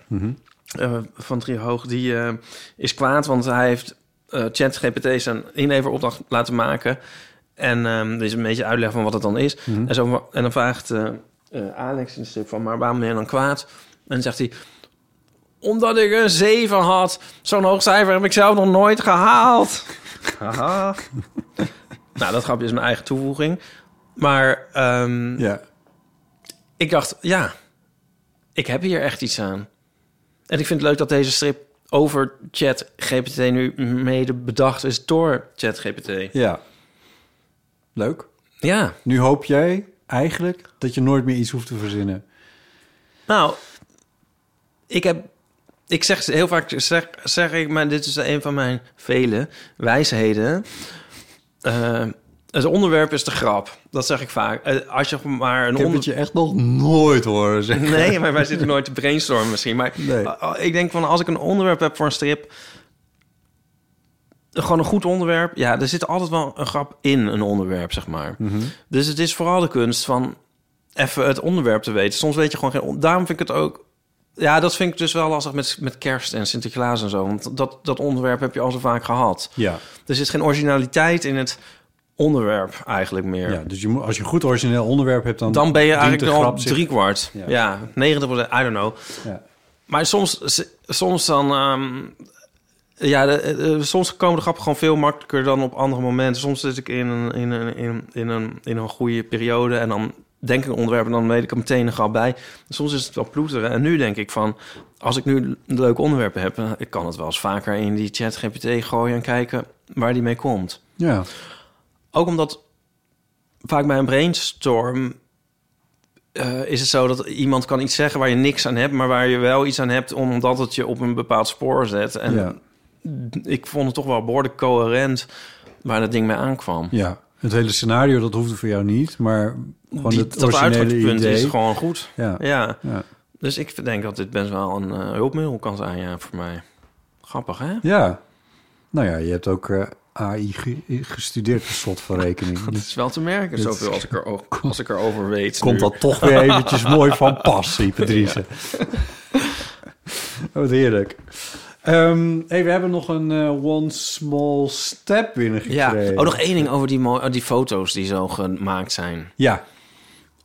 [SPEAKER 2] eh, van Driehoog, die eh, is kwaad, want hij heeft eh ChatGPT zijn inleveropdracht laten maken. En ehm er is een beetje uitleg van wat het dan is. en, zo, en dan vraagt eh, eh, Alex in de strip van, maar waarom ben je dan kwaad? En dan zegt hij, omdat ik een 7 had. Zo'n hoog cijfer heb ik zelf nog nooit gehaald. Haha. nou, dat grapje is mijn eigen toevoeging. Maar ehm,
[SPEAKER 3] Ja.
[SPEAKER 2] ik dacht, ja, ik heb hier echt iets aan. En ik vind het leuk dat deze strip over ChatGPT nu mede bedacht is door ChatGPT.
[SPEAKER 3] Ja. Leuk.
[SPEAKER 2] Ja,
[SPEAKER 3] Nu hoop jij eigenlijk dat je nooit meer iets hoeft te verzinnen.
[SPEAKER 2] nou, ik heb... Ik zeg heel vaak, zeg, zeg ik, maar dit is een van mijn vele wijsheden. Eh, het onderwerp is de grap. Dat zeg ik vaak. Eh, als je maar een
[SPEAKER 3] Ik heb
[SPEAKER 2] onder...
[SPEAKER 3] het je echt nog nooit horen zeggen.
[SPEAKER 2] Nee, maar wij zitten nooit te brainstormen misschien. Maar
[SPEAKER 3] Nee.
[SPEAKER 2] uh, uh, ik denk van als ik een onderwerp heb voor een strip... Gewoon een goed onderwerp. Ja, er zit altijd wel een grap in een onderwerp, zeg maar.
[SPEAKER 3] Mhm.
[SPEAKER 2] Dus het is vooral de kunst van even het onderwerp te weten. Soms weet je gewoon geen... on- Daarom vind ik het ook... Ja, dat vind ik dus wel lastig met, met kerst en Sinterklaas en zo. Want dat, dat onderwerp heb je al zo vaak gehad.
[SPEAKER 3] Ja.
[SPEAKER 2] Er zit geen originaliteit in het onderwerp eigenlijk meer.
[SPEAKER 3] ja, dus je moet, als je een goed origineel onderwerp hebt, dan...
[SPEAKER 2] Dan ben je
[SPEAKER 3] dient
[SPEAKER 2] eigenlijk
[SPEAKER 3] de
[SPEAKER 2] al
[SPEAKER 3] grap zich-
[SPEAKER 2] driekwart.
[SPEAKER 3] Ja.
[SPEAKER 2] Ja, 90 I don't know.
[SPEAKER 3] Ja.
[SPEAKER 2] Maar soms, soms dan... ehm, ja, de- eh, soms komen de grappen gewoon veel makkelijker dan op andere momenten. Soms zit ik in een, in een, in, in een, in een goede periode en dan denk ik een onderwerp en dan weet ik er meteen een grap bij. Soms is het wel ploeteren. En nu denk ik van, als ik nu leuke onderwerpen heb... eh, ik kan het wel eens vaker in die chat GPT gooien en kijken waar die mee komt.
[SPEAKER 3] Ja.
[SPEAKER 2] Ook omdat vaak bij een brainstorm eh, is het zo dat iemand kan iets zeggen waar je niks aan hebt, maar waar je wel iets aan hebt omdat het je op een bepaald spoor zet. En
[SPEAKER 3] ja.
[SPEAKER 2] ik vond het toch wel behoorlijk coherent waar dat ding mee aankwam.
[SPEAKER 3] Ja. Het hele scenario, dat hoefde voor jou niet, maar gewoon
[SPEAKER 2] Die-
[SPEAKER 3] het
[SPEAKER 2] dat
[SPEAKER 3] originele
[SPEAKER 2] uitgangspunt
[SPEAKER 3] idee.
[SPEAKER 2] is gewoon goed.
[SPEAKER 3] Ja.
[SPEAKER 2] Ja.
[SPEAKER 3] Ja.
[SPEAKER 2] Dus ik denk dat dit best wel een eh, hulpmiddel kan zijn ja, voor mij. Grappig, hè?
[SPEAKER 3] Ja. Nou ja, je hebt ook eh, AI ge- gestudeerd, per slot van rekening.
[SPEAKER 2] Dat
[SPEAKER 3] Dus
[SPEAKER 2] is wel te merken,
[SPEAKER 3] Dit-
[SPEAKER 2] zoveel als ik, er, o- als ik erover weet.
[SPEAKER 3] komt
[SPEAKER 2] nu.
[SPEAKER 3] dat toch weer eventjes mooi van pas, die Patrice. Oké, Wat heerlijk. Ehm, hey, we hebben nog een eh, One Small Step
[SPEAKER 2] Ja.
[SPEAKER 3] binnengekregen.
[SPEAKER 2] Oh, nog één ding over die, mo- eh, die foto's die zo gemaakt zijn.
[SPEAKER 3] Ja,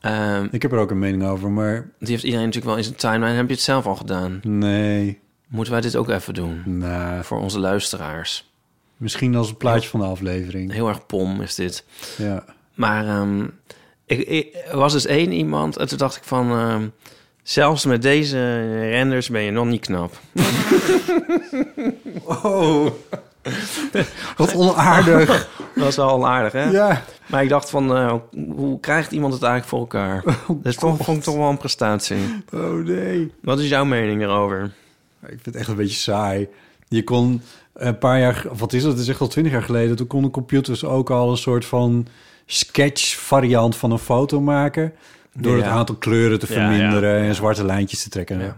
[SPEAKER 2] Ehm,
[SPEAKER 3] ik heb er ook een mening over, maar
[SPEAKER 2] die heeft iedereen natuurlijk wel in zijn timeline. Heb je het zelf al gedaan?
[SPEAKER 3] nee.
[SPEAKER 2] Moeten wij dit ook even doen?
[SPEAKER 3] Nou,
[SPEAKER 2] Voor onze luisteraars.
[SPEAKER 3] misschien als het plaatje van de aflevering.
[SPEAKER 2] Heel erg pom is dit.
[SPEAKER 3] Ja.
[SPEAKER 2] Maar ehm, ik, ik- er was dus één iemand en toen dacht ik van... ehm, zelfs met deze renders ben je nog niet knap.
[SPEAKER 3] Oh, wat onaardig.
[SPEAKER 2] Dat is wel aardig, hè?
[SPEAKER 3] ja.
[SPEAKER 2] Maar ik dacht van, eh, hoe krijgt iemand het eigenlijk voor elkaar? dat is toch, vond ik toch wel een prestatie.
[SPEAKER 3] Oh nee.
[SPEAKER 2] Wat is jouw mening erover?
[SPEAKER 3] Ik vind het echt een beetje saai. Je kon een paar jaar, of wat is dat? Het is echt al twintig jaar geleden. Toen konden computers ook al een soort van sketch-variant van een foto maken. Door
[SPEAKER 2] Ja.
[SPEAKER 3] het aantal kleuren te
[SPEAKER 2] Ja, ja.
[SPEAKER 3] verminderen en zwarte lijntjes te trekken.
[SPEAKER 2] Ja.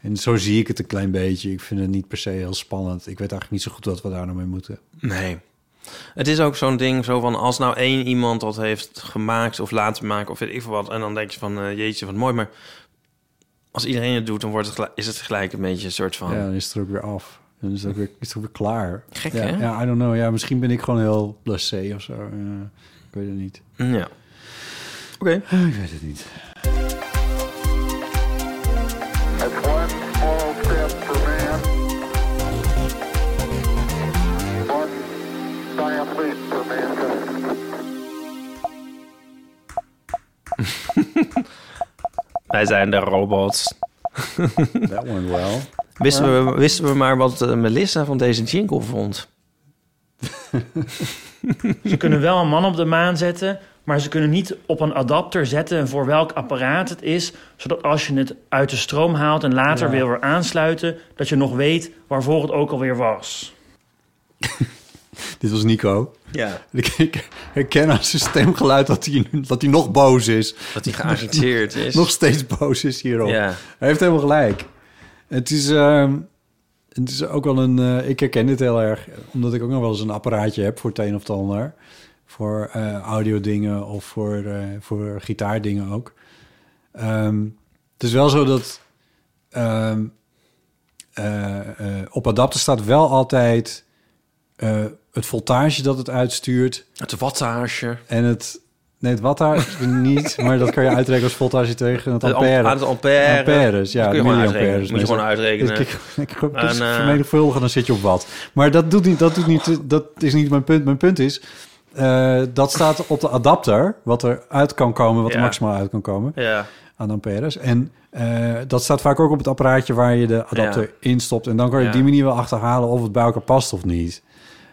[SPEAKER 3] En zo zie ik het een klein beetje. Ik vind het niet per se heel spannend. Ik weet eigenlijk niet zo goed wat we daar nou mee moeten.
[SPEAKER 2] Nee. Het is ook zo'n ding zo van, als nou één iemand dat heeft gemaakt of laten maken of weet ik veel wat. En dan denk je van, eh, jeetje, wat mooi. Maar als iedereen het doet, dan wordt het gelijk, is het gelijk een beetje een soort van...
[SPEAKER 3] Ja, dan is het er ook weer af. Dan is het ook weer, is het ook weer klaar.
[SPEAKER 2] Gek,
[SPEAKER 3] ja,
[SPEAKER 2] hè?
[SPEAKER 3] Ja, I don't know. Ja, misschien ben ik gewoon heel blasé of zo. Ja, ik weet het niet.
[SPEAKER 2] mm, ja. Oké.
[SPEAKER 3] Ik weet het niet.
[SPEAKER 8] That's one small step for man, one giant leap for mankind.
[SPEAKER 2] Wij zijn de robots.
[SPEAKER 3] That one wel.
[SPEAKER 2] Wisten we, wisten we maar wat eh, Melissa van deze jingle vond.
[SPEAKER 9] Ze kunnen wel een man op de maan zetten, maar ze kunnen niet op een adapter zetten voor welk apparaat het is, zodat als je het uit de stroom haalt en later weer weer aansluiten, dat je nog weet waarvoor het ook alweer was.
[SPEAKER 3] Dit was Nico.
[SPEAKER 2] Ja.
[SPEAKER 3] Ik, ik herken aan zijn stemgeluid dat hij, nu- dat hij nog boos is.
[SPEAKER 2] Dat hij geagiteerd is.
[SPEAKER 3] Nog steeds boos is hierop.
[SPEAKER 2] Ja.
[SPEAKER 3] Hij heeft helemaal gelijk. Het is, ehm, het is ook wel een... eh, ik herken dit heel erg. Omdat ik ook nog wel eens een apparaatje heb voor het een of het ander. Voor eh audio dingen of voor, eh, voor gitaardingen ook. Ehm, het is wel zo dat... ehm, eh, eh, op adapter staat wel altijd... eh, het voltage dat het uitstuurt
[SPEAKER 2] Het wattage.
[SPEAKER 3] en het... Nee, het wattage niet, maar dat kan je uitrekenen als voltage tegen het
[SPEAKER 2] Het
[SPEAKER 3] ampère.
[SPEAKER 2] am- Het ampère.
[SPEAKER 3] Amperes, ja.
[SPEAKER 2] Dat kun je gewoon
[SPEAKER 3] milliamperes.
[SPEAKER 2] uitrekenen. Moet je
[SPEAKER 3] Nee,
[SPEAKER 2] gewoon uitrekenen.
[SPEAKER 3] Ik, ik, ik, ik
[SPEAKER 2] En, eh,
[SPEAKER 3] vermenigvuldigen, dan zit je op wat. Maar dat, doet niet, dat, doet niet, dat is niet mijn punt. Mijn punt is, eh, dat staat op de adapter... wat er uit kan komen, wat er
[SPEAKER 2] Ja.
[SPEAKER 3] maximaal uit kan komen
[SPEAKER 2] Ja.
[SPEAKER 3] aan amperes. En eh, dat staat vaak ook op het apparaatje waar je de adapter
[SPEAKER 2] Ja.
[SPEAKER 3] instopt. En dan kan je
[SPEAKER 2] Ja.
[SPEAKER 3] op die manier wel achterhalen of het bij elkaar past of niet.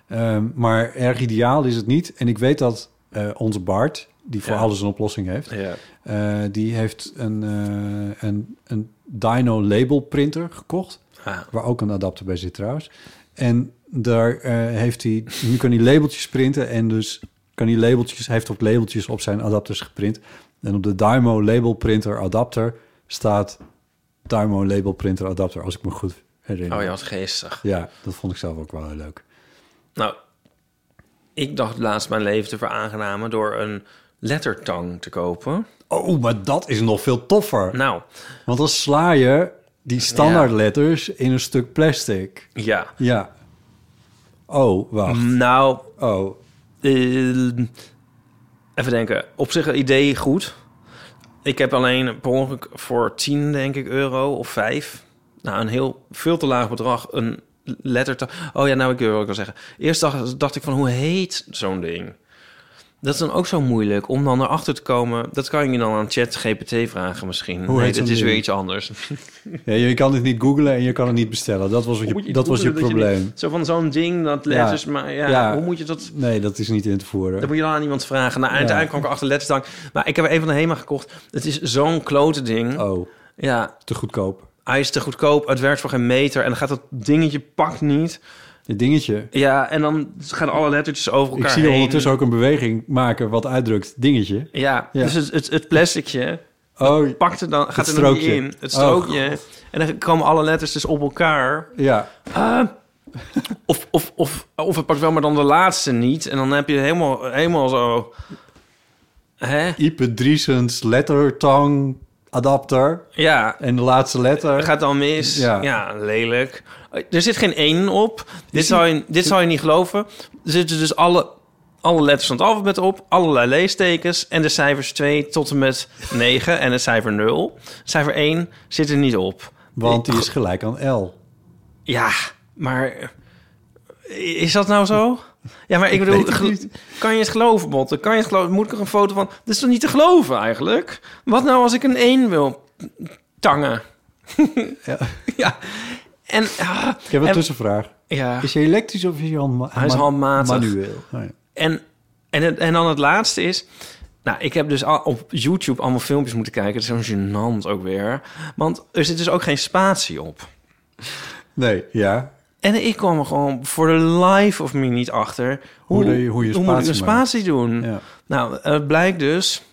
[SPEAKER 3] Ehm, maar erg ideaal is het niet. En ik weet dat eh, onze Bart, die voor
[SPEAKER 2] Ja.
[SPEAKER 3] alles een oplossing heeft...
[SPEAKER 2] ja.
[SPEAKER 3] Eh, die heeft een, eh, een, een Dino label printer gekocht.
[SPEAKER 2] Ah.
[SPEAKER 3] Waar ook een adapter bij zit trouwens. En daar eh, heeft hij... Nu kan hij labeltjes printen en dus kan hij labeltjes... Hij heeft ook labeltjes op zijn adapters geprint. En op de Dymo label printer adapter staat... Dymo label printer adapter, als ik me goed herinner.
[SPEAKER 2] Oh ja, wat geestig.
[SPEAKER 3] Ja, dat vond ik zelf ook wel heel leuk.
[SPEAKER 2] Nou, ik dacht laatst mijn leven te veraangenamen door een lettertang te kopen.
[SPEAKER 3] Oh, maar dat is nog veel toffer.
[SPEAKER 2] Nou,
[SPEAKER 3] Want dan sla je die standaardletters in een stuk plastic.
[SPEAKER 2] ja.
[SPEAKER 3] Ja. Oh, wacht.
[SPEAKER 2] Nou,
[SPEAKER 3] Oh.
[SPEAKER 2] Eh, even denken. Op zich een idee goed. Ik heb alleen per ongeluk voor 10, denk ik, euro of 5. Nou, een heel veel te laag bedrag. Een lettertang. Oh ja, nou, ik wil wel zeggen. Eerst dacht, dacht ik van, hoe heet zo'n ding? Dat is dan ook zo moeilijk om dan erachter te komen. Dat kan je dan aan ChatGPT vragen misschien.
[SPEAKER 3] Hoe
[SPEAKER 2] nee,
[SPEAKER 3] heet
[SPEAKER 2] dit
[SPEAKER 3] zo'n
[SPEAKER 2] is weer
[SPEAKER 3] ding?
[SPEAKER 2] iets anders.
[SPEAKER 3] Ja, je kan het niet googlen en je kan het niet bestellen. Dat was, wat
[SPEAKER 2] Moet
[SPEAKER 3] je,
[SPEAKER 2] je
[SPEAKER 3] dat was je
[SPEAKER 2] googlen dat
[SPEAKER 3] probleem.
[SPEAKER 2] niet- zo van zo'n ding, dat letters... Maar ja,
[SPEAKER 3] Ja.
[SPEAKER 2] hoe moet je dat...
[SPEAKER 3] Nee, dat is niet in te
[SPEAKER 2] Dat
[SPEAKER 3] voeren.
[SPEAKER 2] moet je dan aan iemand vragen. Nou, en uiteindelijk kwam ik achter letterstank. Maar ik heb er een van de HEMA gekocht. Het is zo'n klote ding.
[SPEAKER 3] Oh,
[SPEAKER 2] Ja,
[SPEAKER 3] te goedkoop.
[SPEAKER 2] hij is te goedkoop. Het werkt voor geen meter. En dan gaat dat dingetje pakt niet.
[SPEAKER 3] Dit dingetje.
[SPEAKER 2] Ja, en dan gaan alle lettertjes over elkaar
[SPEAKER 3] Ik zie
[SPEAKER 2] heen.
[SPEAKER 3] ondertussen ook een beweging maken wat uitdrukt dingetje.
[SPEAKER 2] Ja,
[SPEAKER 3] Ja.
[SPEAKER 2] dus het, het, het plasticje
[SPEAKER 3] Oh,
[SPEAKER 2] pakt er dan, gaat
[SPEAKER 3] Het
[SPEAKER 2] er dan niet
[SPEAKER 3] strookje. Oh.
[SPEAKER 2] in. Het strookje. en dan komen alle letters dus op elkaar.
[SPEAKER 3] ja.
[SPEAKER 2] Of, of, of, of het pakt wel, maar dan de laatste niet. En dan heb je helemaal, helemaal zo... Hè?
[SPEAKER 3] Ipe Driesens lettertang adapter.
[SPEAKER 2] Ja.
[SPEAKER 3] En de laatste letter.
[SPEAKER 2] Gaat dan mis.
[SPEAKER 3] Ja.
[SPEAKER 2] Ja. lelijk. Er zit geen één op. Dit zou, je, dit zou je niet geloven. Er zitten dus alle, alle letters van het alfabet op. Allerlei leestekens. En de cijfers 2 tot en met 9. En het cijfer 0. Cijfer 1 zit er niet op.
[SPEAKER 3] Want die is gelijk aan L.
[SPEAKER 2] Ja, maar is dat nou zo? Ja, maar ik bedoel,
[SPEAKER 3] weet het
[SPEAKER 2] gel- kan je het geloven, Botte? Kan je het geloven? Moet ik er een foto van? Dat is toch niet te geloven eigenlijk? Wat nou als ik een 1 wil tangen?
[SPEAKER 3] Ja.
[SPEAKER 2] ja. En, ah,
[SPEAKER 3] Ik heb een
[SPEAKER 2] en-
[SPEAKER 3] tussenvraag.
[SPEAKER 2] Ja.
[SPEAKER 3] Is hij elektrisch of is hij, handma-
[SPEAKER 2] Hij is
[SPEAKER 3] ma-
[SPEAKER 2] handmatig.
[SPEAKER 3] Manueel. Oh ja.
[SPEAKER 2] En, en, het- en dan het laatste is... Nou, ik heb dus al op YouTube allemaal filmpjes moeten kijken. Het is zo gênant ook weer. Want er zit dus ook geen spatie op.
[SPEAKER 3] Nee, ja.
[SPEAKER 2] En ik kwam er gewoon voor de life of me niet achter...
[SPEAKER 3] Hoe doe je- hoe je
[SPEAKER 2] moet ik een
[SPEAKER 3] spatie maakt.
[SPEAKER 2] spatie doen? Nou, het blijkt dus...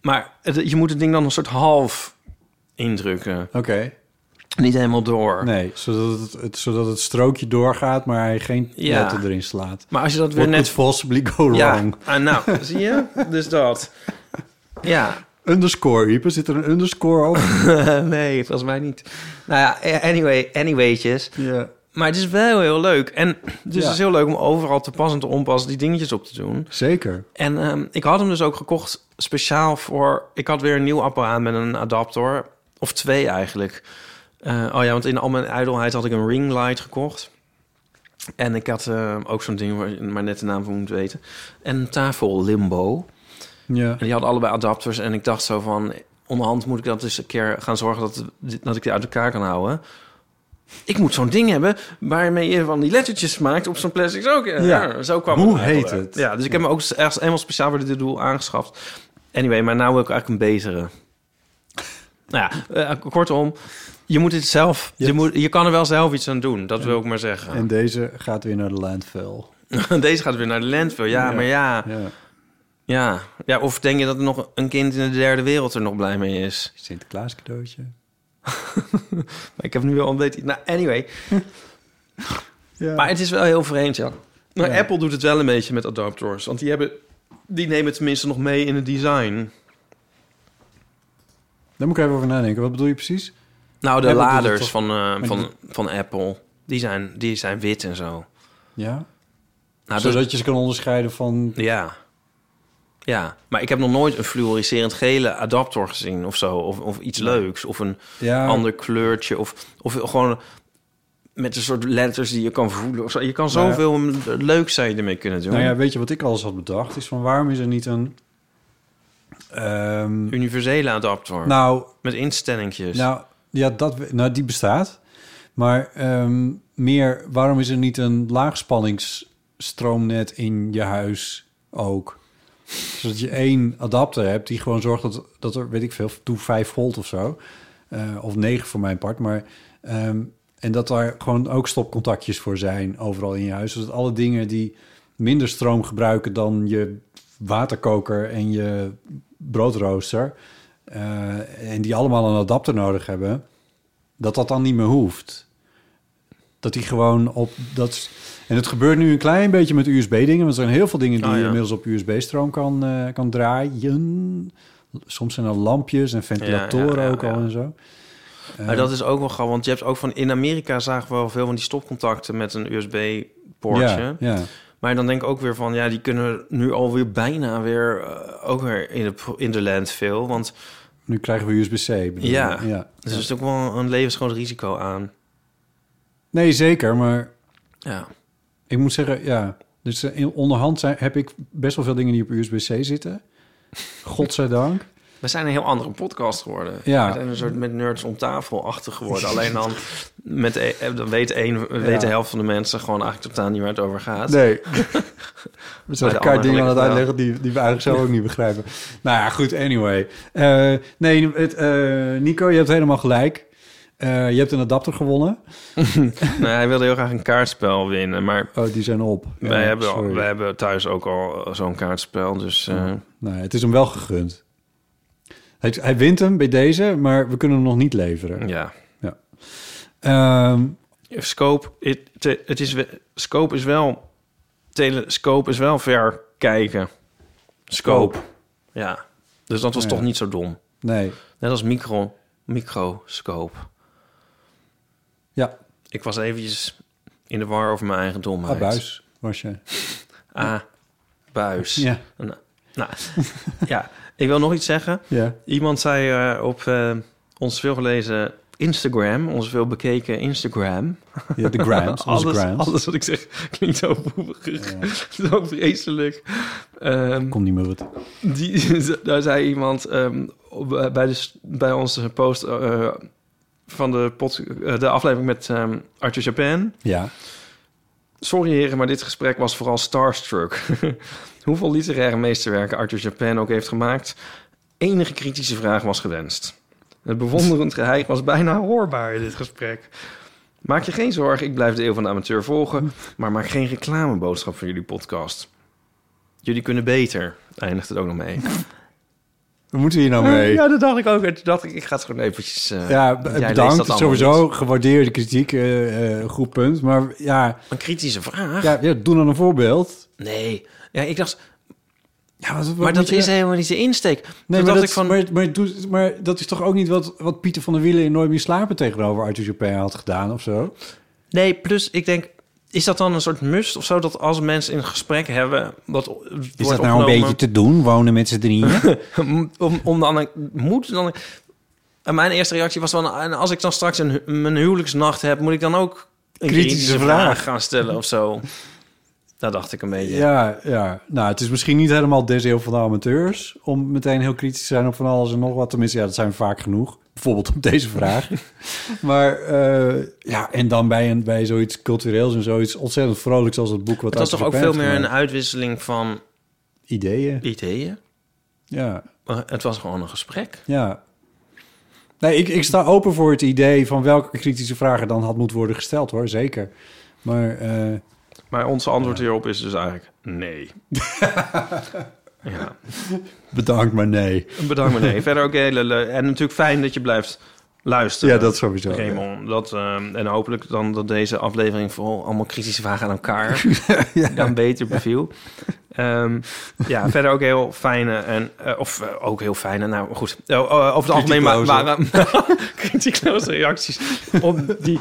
[SPEAKER 2] Maar het- je moet het ding dan een soort half indrukken.
[SPEAKER 3] Oké.
[SPEAKER 2] Niet helemaal door.
[SPEAKER 3] Nee, zodat het, het- zodat het strookje doorgaat, maar hij geen
[SPEAKER 2] Ja.
[SPEAKER 3] letter erin slaat.
[SPEAKER 2] Maar als je dat weer
[SPEAKER 3] What
[SPEAKER 2] net-
[SPEAKER 3] could possibly go
[SPEAKER 2] ja,
[SPEAKER 3] wrong.
[SPEAKER 2] ah, nou, zie je? Dus dat. Ja,
[SPEAKER 3] Underscore, Ieper. Zit er een underscore op?
[SPEAKER 2] nee, volgens mij niet. Nou ja, anyway, anywaytjes.
[SPEAKER 3] Ja.
[SPEAKER 2] Maar het is wel heel leuk. En dus
[SPEAKER 3] Ja.
[SPEAKER 2] het is heel leuk om overal te pas en te onpas die dingetjes op te doen.
[SPEAKER 3] Zeker.
[SPEAKER 2] En ehm, ik had hem dus ook gekocht speciaal voor... Ik had weer een nieuw apparaat met een adapter. Of twee eigenlijk. Eh, oh ja, want in al mijn ijdelheid had ik een ringlight gekocht. En ik had ehm, ook zo'n ding waar je maar net de naam van moet weten. En een tafel limbo.
[SPEAKER 3] Ja.
[SPEAKER 2] En die hadden allebei adapters. En ik dacht zo van... Onderhand moet ik dat eens een keer gaan zorgen dat, dat ik die uit elkaar kan houden. Ik moet zo'n ding hebben waarmee je van die lettertjes maakt op zo'n plastic zakje.
[SPEAKER 3] Ja.
[SPEAKER 2] Ja, zo kwam
[SPEAKER 3] Hoe
[SPEAKER 2] het eigenlijk.
[SPEAKER 3] heet het?
[SPEAKER 2] Ja, dus ik heb me ook ergens eenmaal speciaal voor dit doel aangeschaft. Anyway, maar nou wil ik eigenlijk een betere. Nou ja, eh, kortom, je moet het zelf... Je, moet, je kan er wel zelf iets aan doen, dat wil ik maar zeggen.
[SPEAKER 3] En deze gaat weer naar de landfill.
[SPEAKER 2] Deze gaat weer naar de landfill, ja,
[SPEAKER 3] Ja.
[SPEAKER 2] maar ja.
[SPEAKER 3] Ja.
[SPEAKER 2] Ja. ja, of denk je dat er nog een kind in de derde wereld er nog blij mee is?
[SPEAKER 3] Sinterklaas cadeautje.
[SPEAKER 2] Maar ik heb nu wel een beetje... Nou, anyway.
[SPEAKER 3] Ja.
[SPEAKER 2] Maar het is wel heel vreemd, ja. Maar
[SPEAKER 3] Ja.
[SPEAKER 2] Apple doet het wel een beetje met adapters. Want die, hebben, die nemen het tenminste nog mee in het design.
[SPEAKER 3] Daar moet ik even over nadenken. Wat bedoel je precies?
[SPEAKER 2] Nou, de
[SPEAKER 3] Apple doet het
[SPEAKER 2] laders
[SPEAKER 3] toch-
[SPEAKER 2] van, eh,
[SPEAKER 3] die
[SPEAKER 2] van, van Apple, die zijn, die zijn wit en zo.
[SPEAKER 3] Ja.
[SPEAKER 2] Nou, dat-
[SPEAKER 3] Zodat je ze kan onderscheiden van...
[SPEAKER 2] Ja. Ja, maar ik heb nog nooit een fluoriserend gele adapter gezien of zo. Of, of iets leuks. Of een
[SPEAKER 3] Ja.
[SPEAKER 2] ander kleurtje. Of, of gewoon met een soort letters die je kan voelen. Of zo. Je kan
[SPEAKER 3] Nou ja.
[SPEAKER 2] zoveel leuk zou je ermee kunnen doen.
[SPEAKER 3] Nou ja, weet je wat ik alles had bedacht? Is van waarom is er niet een... ehm,
[SPEAKER 2] Universele adapter.
[SPEAKER 3] nou,
[SPEAKER 2] met instellingjes.
[SPEAKER 3] Nou, ja, dat, we- nou, die bestaat. Maar ehm, meer, waarom is er niet een laagspanningsstroomnet in je huis ook? Zodat je één adapter hebt die gewoon zorgt dat, dat er, weet ik veel, toe 5 volt of zo. Eh, of 9 voor mijn part. Maar, ehm, en dat daar gewoon ook stopcontactjes voor zijn overal in je huis. Zodat alle dingen die minder stroom gebruiken dan je waterkoker en je broodrooster... eh, en die allemaal een adapter nodig hebben... dat dat dan niet meer hoeft. Dat die gewoon op... Dat, en het gebeurt nu een klein beetje met USB-dingen... want er zijn heel veel dingen die
[SPEAKER 2] Ah, ja.
[SPEAKER 3] je inmiddels op USB-stroom kan, eh, kan draaien. Soms zijn er lampjes en ventilatoren
[SPEAKER 2] Ja, ja, ja,
[SPEAKER 3] ook al
[SPEAKER 2] ja.
[SPEAKER 3] en zo.
[SPEAKER 2] maar dat is ook wel grappig. Want je hebt ook van... In Amerika zagen we wel veel van die stopcontacten met een USB-poortje.
[SPEAKER 3] Ja, ja.
[SPEAKER 2] Maar dan denk ik ook weer van, ja, die kunnen nu alweer bijna weer eh, ook weer in de, pro- in de landfill. Want
[SPEAKER 3] Nu krijgen we USB-C. bedoel je?
[SPEAKER 2] ja,
[SPEAKER 3] ja.
[SPEAKER 2] dus er is ook wel een levensgroot risico aan.
[SPEAKER 3] Nee, zeker. Maar
[SPEAKER 2] Ja.
[SPEAKER 3] ik moet zeggen, ja. Dus eh, in onderhand zijn, heb ik best wel veel dingen die op USB-C zitten. Godzijdank.
[SPEAKER 2] We zijn een heel andere podcast geworden.
[SPEAKER 3] Ja.
[SPEAKER 2] We zijn een soort met nerds om tafel achter geworden. Alleen dan, met, e- eh, dan weet, een, weet de helft van de mensen gewoon eigenlijk totaal niet waar het over gaat.
[SPEAKER 3] Nee. We zijn
[SPEAKER 2] de
[SPEAKER 3] elkaar dingen aan het
[SPEAKER 2] andere
[SPEAKER 3] uitleggen die, die we eigenlijk zelf ook niet begrijpen. Nou ja, goed, anyway. Eh, nee, het, eh, Nico, je hebt helemaal gelijk. Eh, je hebt een adapter gewonnen.
[SPEAKER 2] Nee, Nou, hij wilde heel graag een kaartspel winnen, maar...
[SPEAKER 3] Oh, die zijn op. Ja,
[SPEAKER 2] wij, hebben, al-
[SPEAKER 3] sorry.
[SPEAKER 2] wij hebben thuis ook al eh, zo'n kaartspel, dus... eh,
[SPEAKER 3] Nou, het is hem wel gegund. Hij, hij wint hem bij deze, maar we kunnen hem nog niet leveren.
[SPEAKER 2] ja.
[SPEAKER 3] Ja. Ehm,
[SPEAKER 2] Scope, het, te- het is, we- scope is wel... Telescope is wel ver kijken. Scope. Ja. Dus dat was
[SPEAKER 3] Ja.
[SPEAKER 2] toch niet zo dom.
[SPEAKER 3] nee.
[SPEAKER 2] Net als micro, microscoop.
[SPEAKER 3] Ja.
[SPEAKER 2] Ik was eventjes in de war over mijn eigen domheid.
[SPEAKER 3] Ah, Abuis was je.
[SPEAKER 2] Ah, buis.
[SPEAKER 3] Ja.
[SPEAKER 2] Nou, nou, ja, ik wil nog iets zeggen.
[SPEAKER 3] Ja.
[SPEAKER 2] Iemand zei eh, op eh, ons veelgelezen Instagram, onze veel bekeken Instagram.
[SPEAKER 3] Ja, de grams, onze
[SPEAKER 2] alles,
[SPEAKER 3] grams.
[SPEAKER 2] alles wat ik zeg klinkt zo boerig. Zo vreselijk. Kom
[SPEAKER 3] niet meer wat.
[SPEAKER 2] Die, daar zei iemand ehm, op- bij, de, s- bij onze post eh, van de, pod, eh, de aflevering met ehm Arthur Japan.
[SPEAKER 3] Ja.
[SPEAKER 2] Sorry heren, maar dit gesprek was vooral starstruck. Hoeveel literaire meesterwerken Arthur Japan ook heeft gemaakt, enige kritische vraag was gewenst. Het bewonderend geheim was bijna hoorbaar in dit gesprek. Maak je geen zorgen, ik blijf de eeuw van de amateur volgen, maar maak geen reclameboodschap voor jullie podcast. Jullie kunnen beter, eindigt het ook nog mee.
[SPEAKER 3] We moeten hier nou mee.
[SPEAKER 2] Eh, Ja, dat dacht ik ook. En toen dacht ik, ik ga het gewoon eventjes... eh,
[SPEAKER 3] Ja,
[SPEAKER 2] jij leest dat
[SPEAKER 3] bedankt.
[SPEAKER 2] allemaal
[SPEAKER 3] Sowieso
[SPEAKER 2] niet.
[SPEAKER 3] gewaardeerde kritiek. eh, eh, goed punt. Maar ja,
[SPEAKER 2] Een kritische vraag?
[SPEAKER 3] ja, ja, doe dan een voorbeeld.
[SPEAKER 2] Nee. Ja, ik dacht,
[SPEAKER 3] Ja, wat- wat
[SPEAKER 2] maar
[SPEAKER 3] moet
[SPEAKER 2] dat
[SPEAKER 3] je-
[SPEAKER 2] is helemaal niet de insteek.
[SPEAKER 3] Nee,
[SPEAKER 2] Toen
[SPEAKER 3] maar
[SPEAKER 2] dacht
[SPEAKER 3] dat,
[SPEAKER 2] ik van...
[SPEAKER 3] maar, maar, doe- maar dat is toch ook niet wat, wat Pieter van der Wielen in Nooit meer slapen tegenover Arthur Chopin had gedaan of zo?
[SPEAKER 2] Nee, plus ik denk, is dat dan een soort must of zo dat als mensen een gesprek hebben, dat
[SPEAKER 1] Is dat nou een beetje te doen, wonen met z'n drieën?
[SPEAKER 2] om, om dan moet dan. En mijn eerste reactie was van, en als ik dan straks een, hu- mijn huwelijksnacht heb, moet ik dan ook een kritische,
[SPEAKER 3] Kritische
[SPEAKER 2] vraag.
[SPEAKER 3] vraag.
[SPEAKER 2] gaan stellen of zo. Dat dacht ik een beetje.
[SPEAKER 3] Ja, ja. Nou, het is misschien niet helemaal des eeuw van de amateurs om meteen heel kritisch te zijn op van alles en nog wat. Tenminste, ja, dat zijn we vaak genoeg. Bijvoorbeeld op deze vraag. maar eh, ja, en dan bij, een, bij zoiets cultureels en zoiets ontzettend vrolijks als het boek wat
[SPEAKER 2] het was
[SPEAKER 3] Arthur
[SPEAKER 2] toch ook veel
[SPEAKER 3] Chopin heeft
[SPEAKER 2] meer een
[SPEAKER 3] gemaakt.
[SPEAKER 2] uitwisseling van
[SPEAKER 3] ideeën.
[SPEAKER 2] ideeën.
[SPEAKER 3] Ja.
[SPEAKER 2] Maar Het was gewoon een gesprek.
[SPEAKER 3] Ja. Nee, ik, ik sta open voor het idee van welke kritische vragen dan had moeten worden gesteld, hoor. Zeker. Maar eh,
[SPEAKER 2] Maar ons antwoord hierop is dus eigenlijk nee. ja.
[SPEAKER 3] bedankt, maar nee.
[SPEAKER 2] Bedankt meneer. Verder ook hele le- En natuurlijk fijn dat je blijft luisteren.
[SPEAKER 3] Ja, dat sowieso,
[SPEAKER 2] Raymond. Dat, ehm, en hopelijk dan dat deze aflevering vooral allemaal kritische vragen aan elkaar dan beter beviel. Ehm, ja, verder ook heel fijne en... eh, of eh, ook heel fijne, nou goed. Eh, eh, over het algemeen wa- waren...
[SPEAKER 3] Kritiekloze.
[SPEAKER 2] kritiekloze reacties op die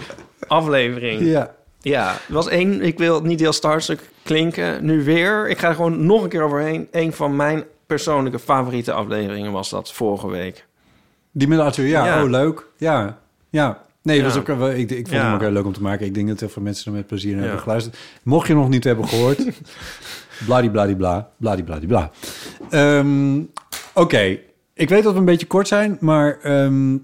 [SPEAKER 2] aflevering.
[SPEAKER 3] Ja.
[SPEAKER 2] Ja, er was één. Ik wil niet heel starstruck klinken. Nu weer. Ik ga er gewoon nog een keer overheen. Eén van mijn persoonlijke favoriete afleveringen was dat vorige week.
[SPEAKER 3] Die met Arthur, ja,
[SPEAKER 2] Ja.
[SPEAKER 3] oh, leuk. Ja, ja. Nee, dat
[SPEAKER 2] Ja.
[SPEAKER 3] was ook, eh, wel- ik, ik vond
[SPEAKER 2] Ja.
[SPEAKER 3] hem ook heel leuk om te maken. Ik denk dat heel veel mensen er met plezier naar
[SPEAKER 2] Ja.
[SPEAKER 3] hebben geluisterd. Mocht je nog niet hebben gehoord, bladibladibla, bladibladibla. Ehm Oké, ik weet dat we een beetje kort zijn, maar ehm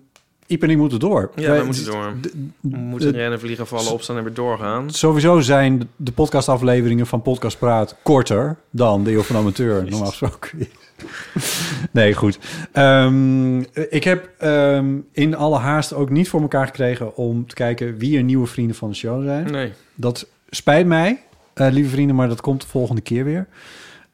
[SPEAKER 3] Iep en ik moeten door.
[SPEAKER 2] Ja,
[SPEAKER 3] Wij-
[SPEAKER 2] we moeten door. We moeten rennen, vliegen, vallen, opstaan en weer doorgaan.
[SPEAKER 3] Sowieso zijn de podcastafleveringen van Podcast Praat korter dan de Eeuw van de Amateur normaal gesproken is. Nee, goed. Ehm, ik heb ehm, in alle haast ook niet voor elkaar gekregen om te kijken wie er nieuwe vrienden van de show zijn.
[SPEAKER 2] Nee.
[SPEAKER 3] Dat spijt mij, eh, lieve vrienden, maar dat komt de volgende keer weer.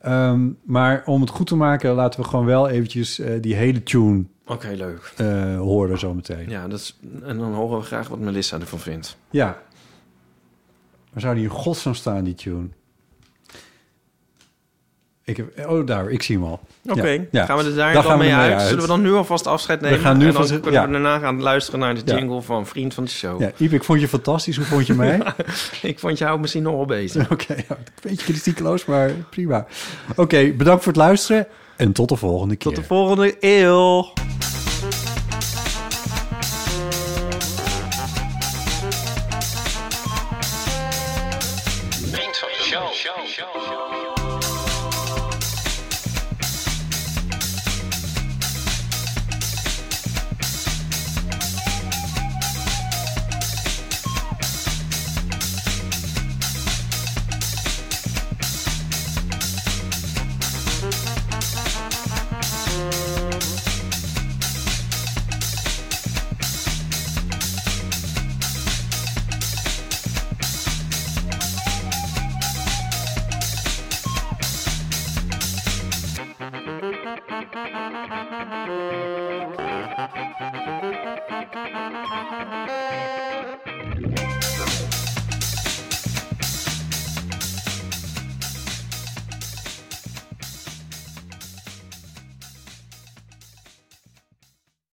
[SPEAKER 3] Ehm, maar om het goed te maken, laten we gewoon wel eventjes eh, die hele tune
[SPEAKER 2] Oké, leuk.
[SPEAKER 3] eh, horen zometeen.
[SPEAKER 2] Ja, dat is, en dan horen we graag wat Melissa ervan vindt.
[SPEAKER 3] Ja. Waar zou die in godsnaam staan, die tune? Ik heb, oh, daar, ik zie hem al.
[SPEAKER 2] Oké,
[SPEAKER 3] Ja, ja.
[SPEAKER 2] gaan we er daar
[SPEAKER 3] Daar
[SPEAKER 2] dan
[SPEAKER 3] gaan we
[SPEAKER 2] mee
[SPEAKER 3] ermee
[SPEAKER 2] uit?
[SPEAKER 3] uit.
[SPEAKER 2] Zullen we dan nu alvast afscheid nemen?
[SPEAKER 3] gaan nu
[SPEAKER 2] en dan
[SPEAKER 3] vast-
[SPEAKER 2] kunnen
[SPEAKER 3] ja.
[SPEAKER 2] we daarna gaan luisteren naar de
[SPEAKER 3] Ja.
[SPEAKER 2] jingle van Vriend van de Show.
[SPEAKER 3] Ja, Iep, ik vond je fantastisch. Hoe vond je mij?
[SPEAKER 2] Ik vond jou misschien nog wel bezig.
[SPEAKER 3] Oké, ja, een beetje kritiekloos, maar prima. Oké, bedankt voor het luisteren en tot de volgende keer.
[SPEAKER 2] Tot de volgende eeuw.
[SPEAKER 8] Vriend van de show.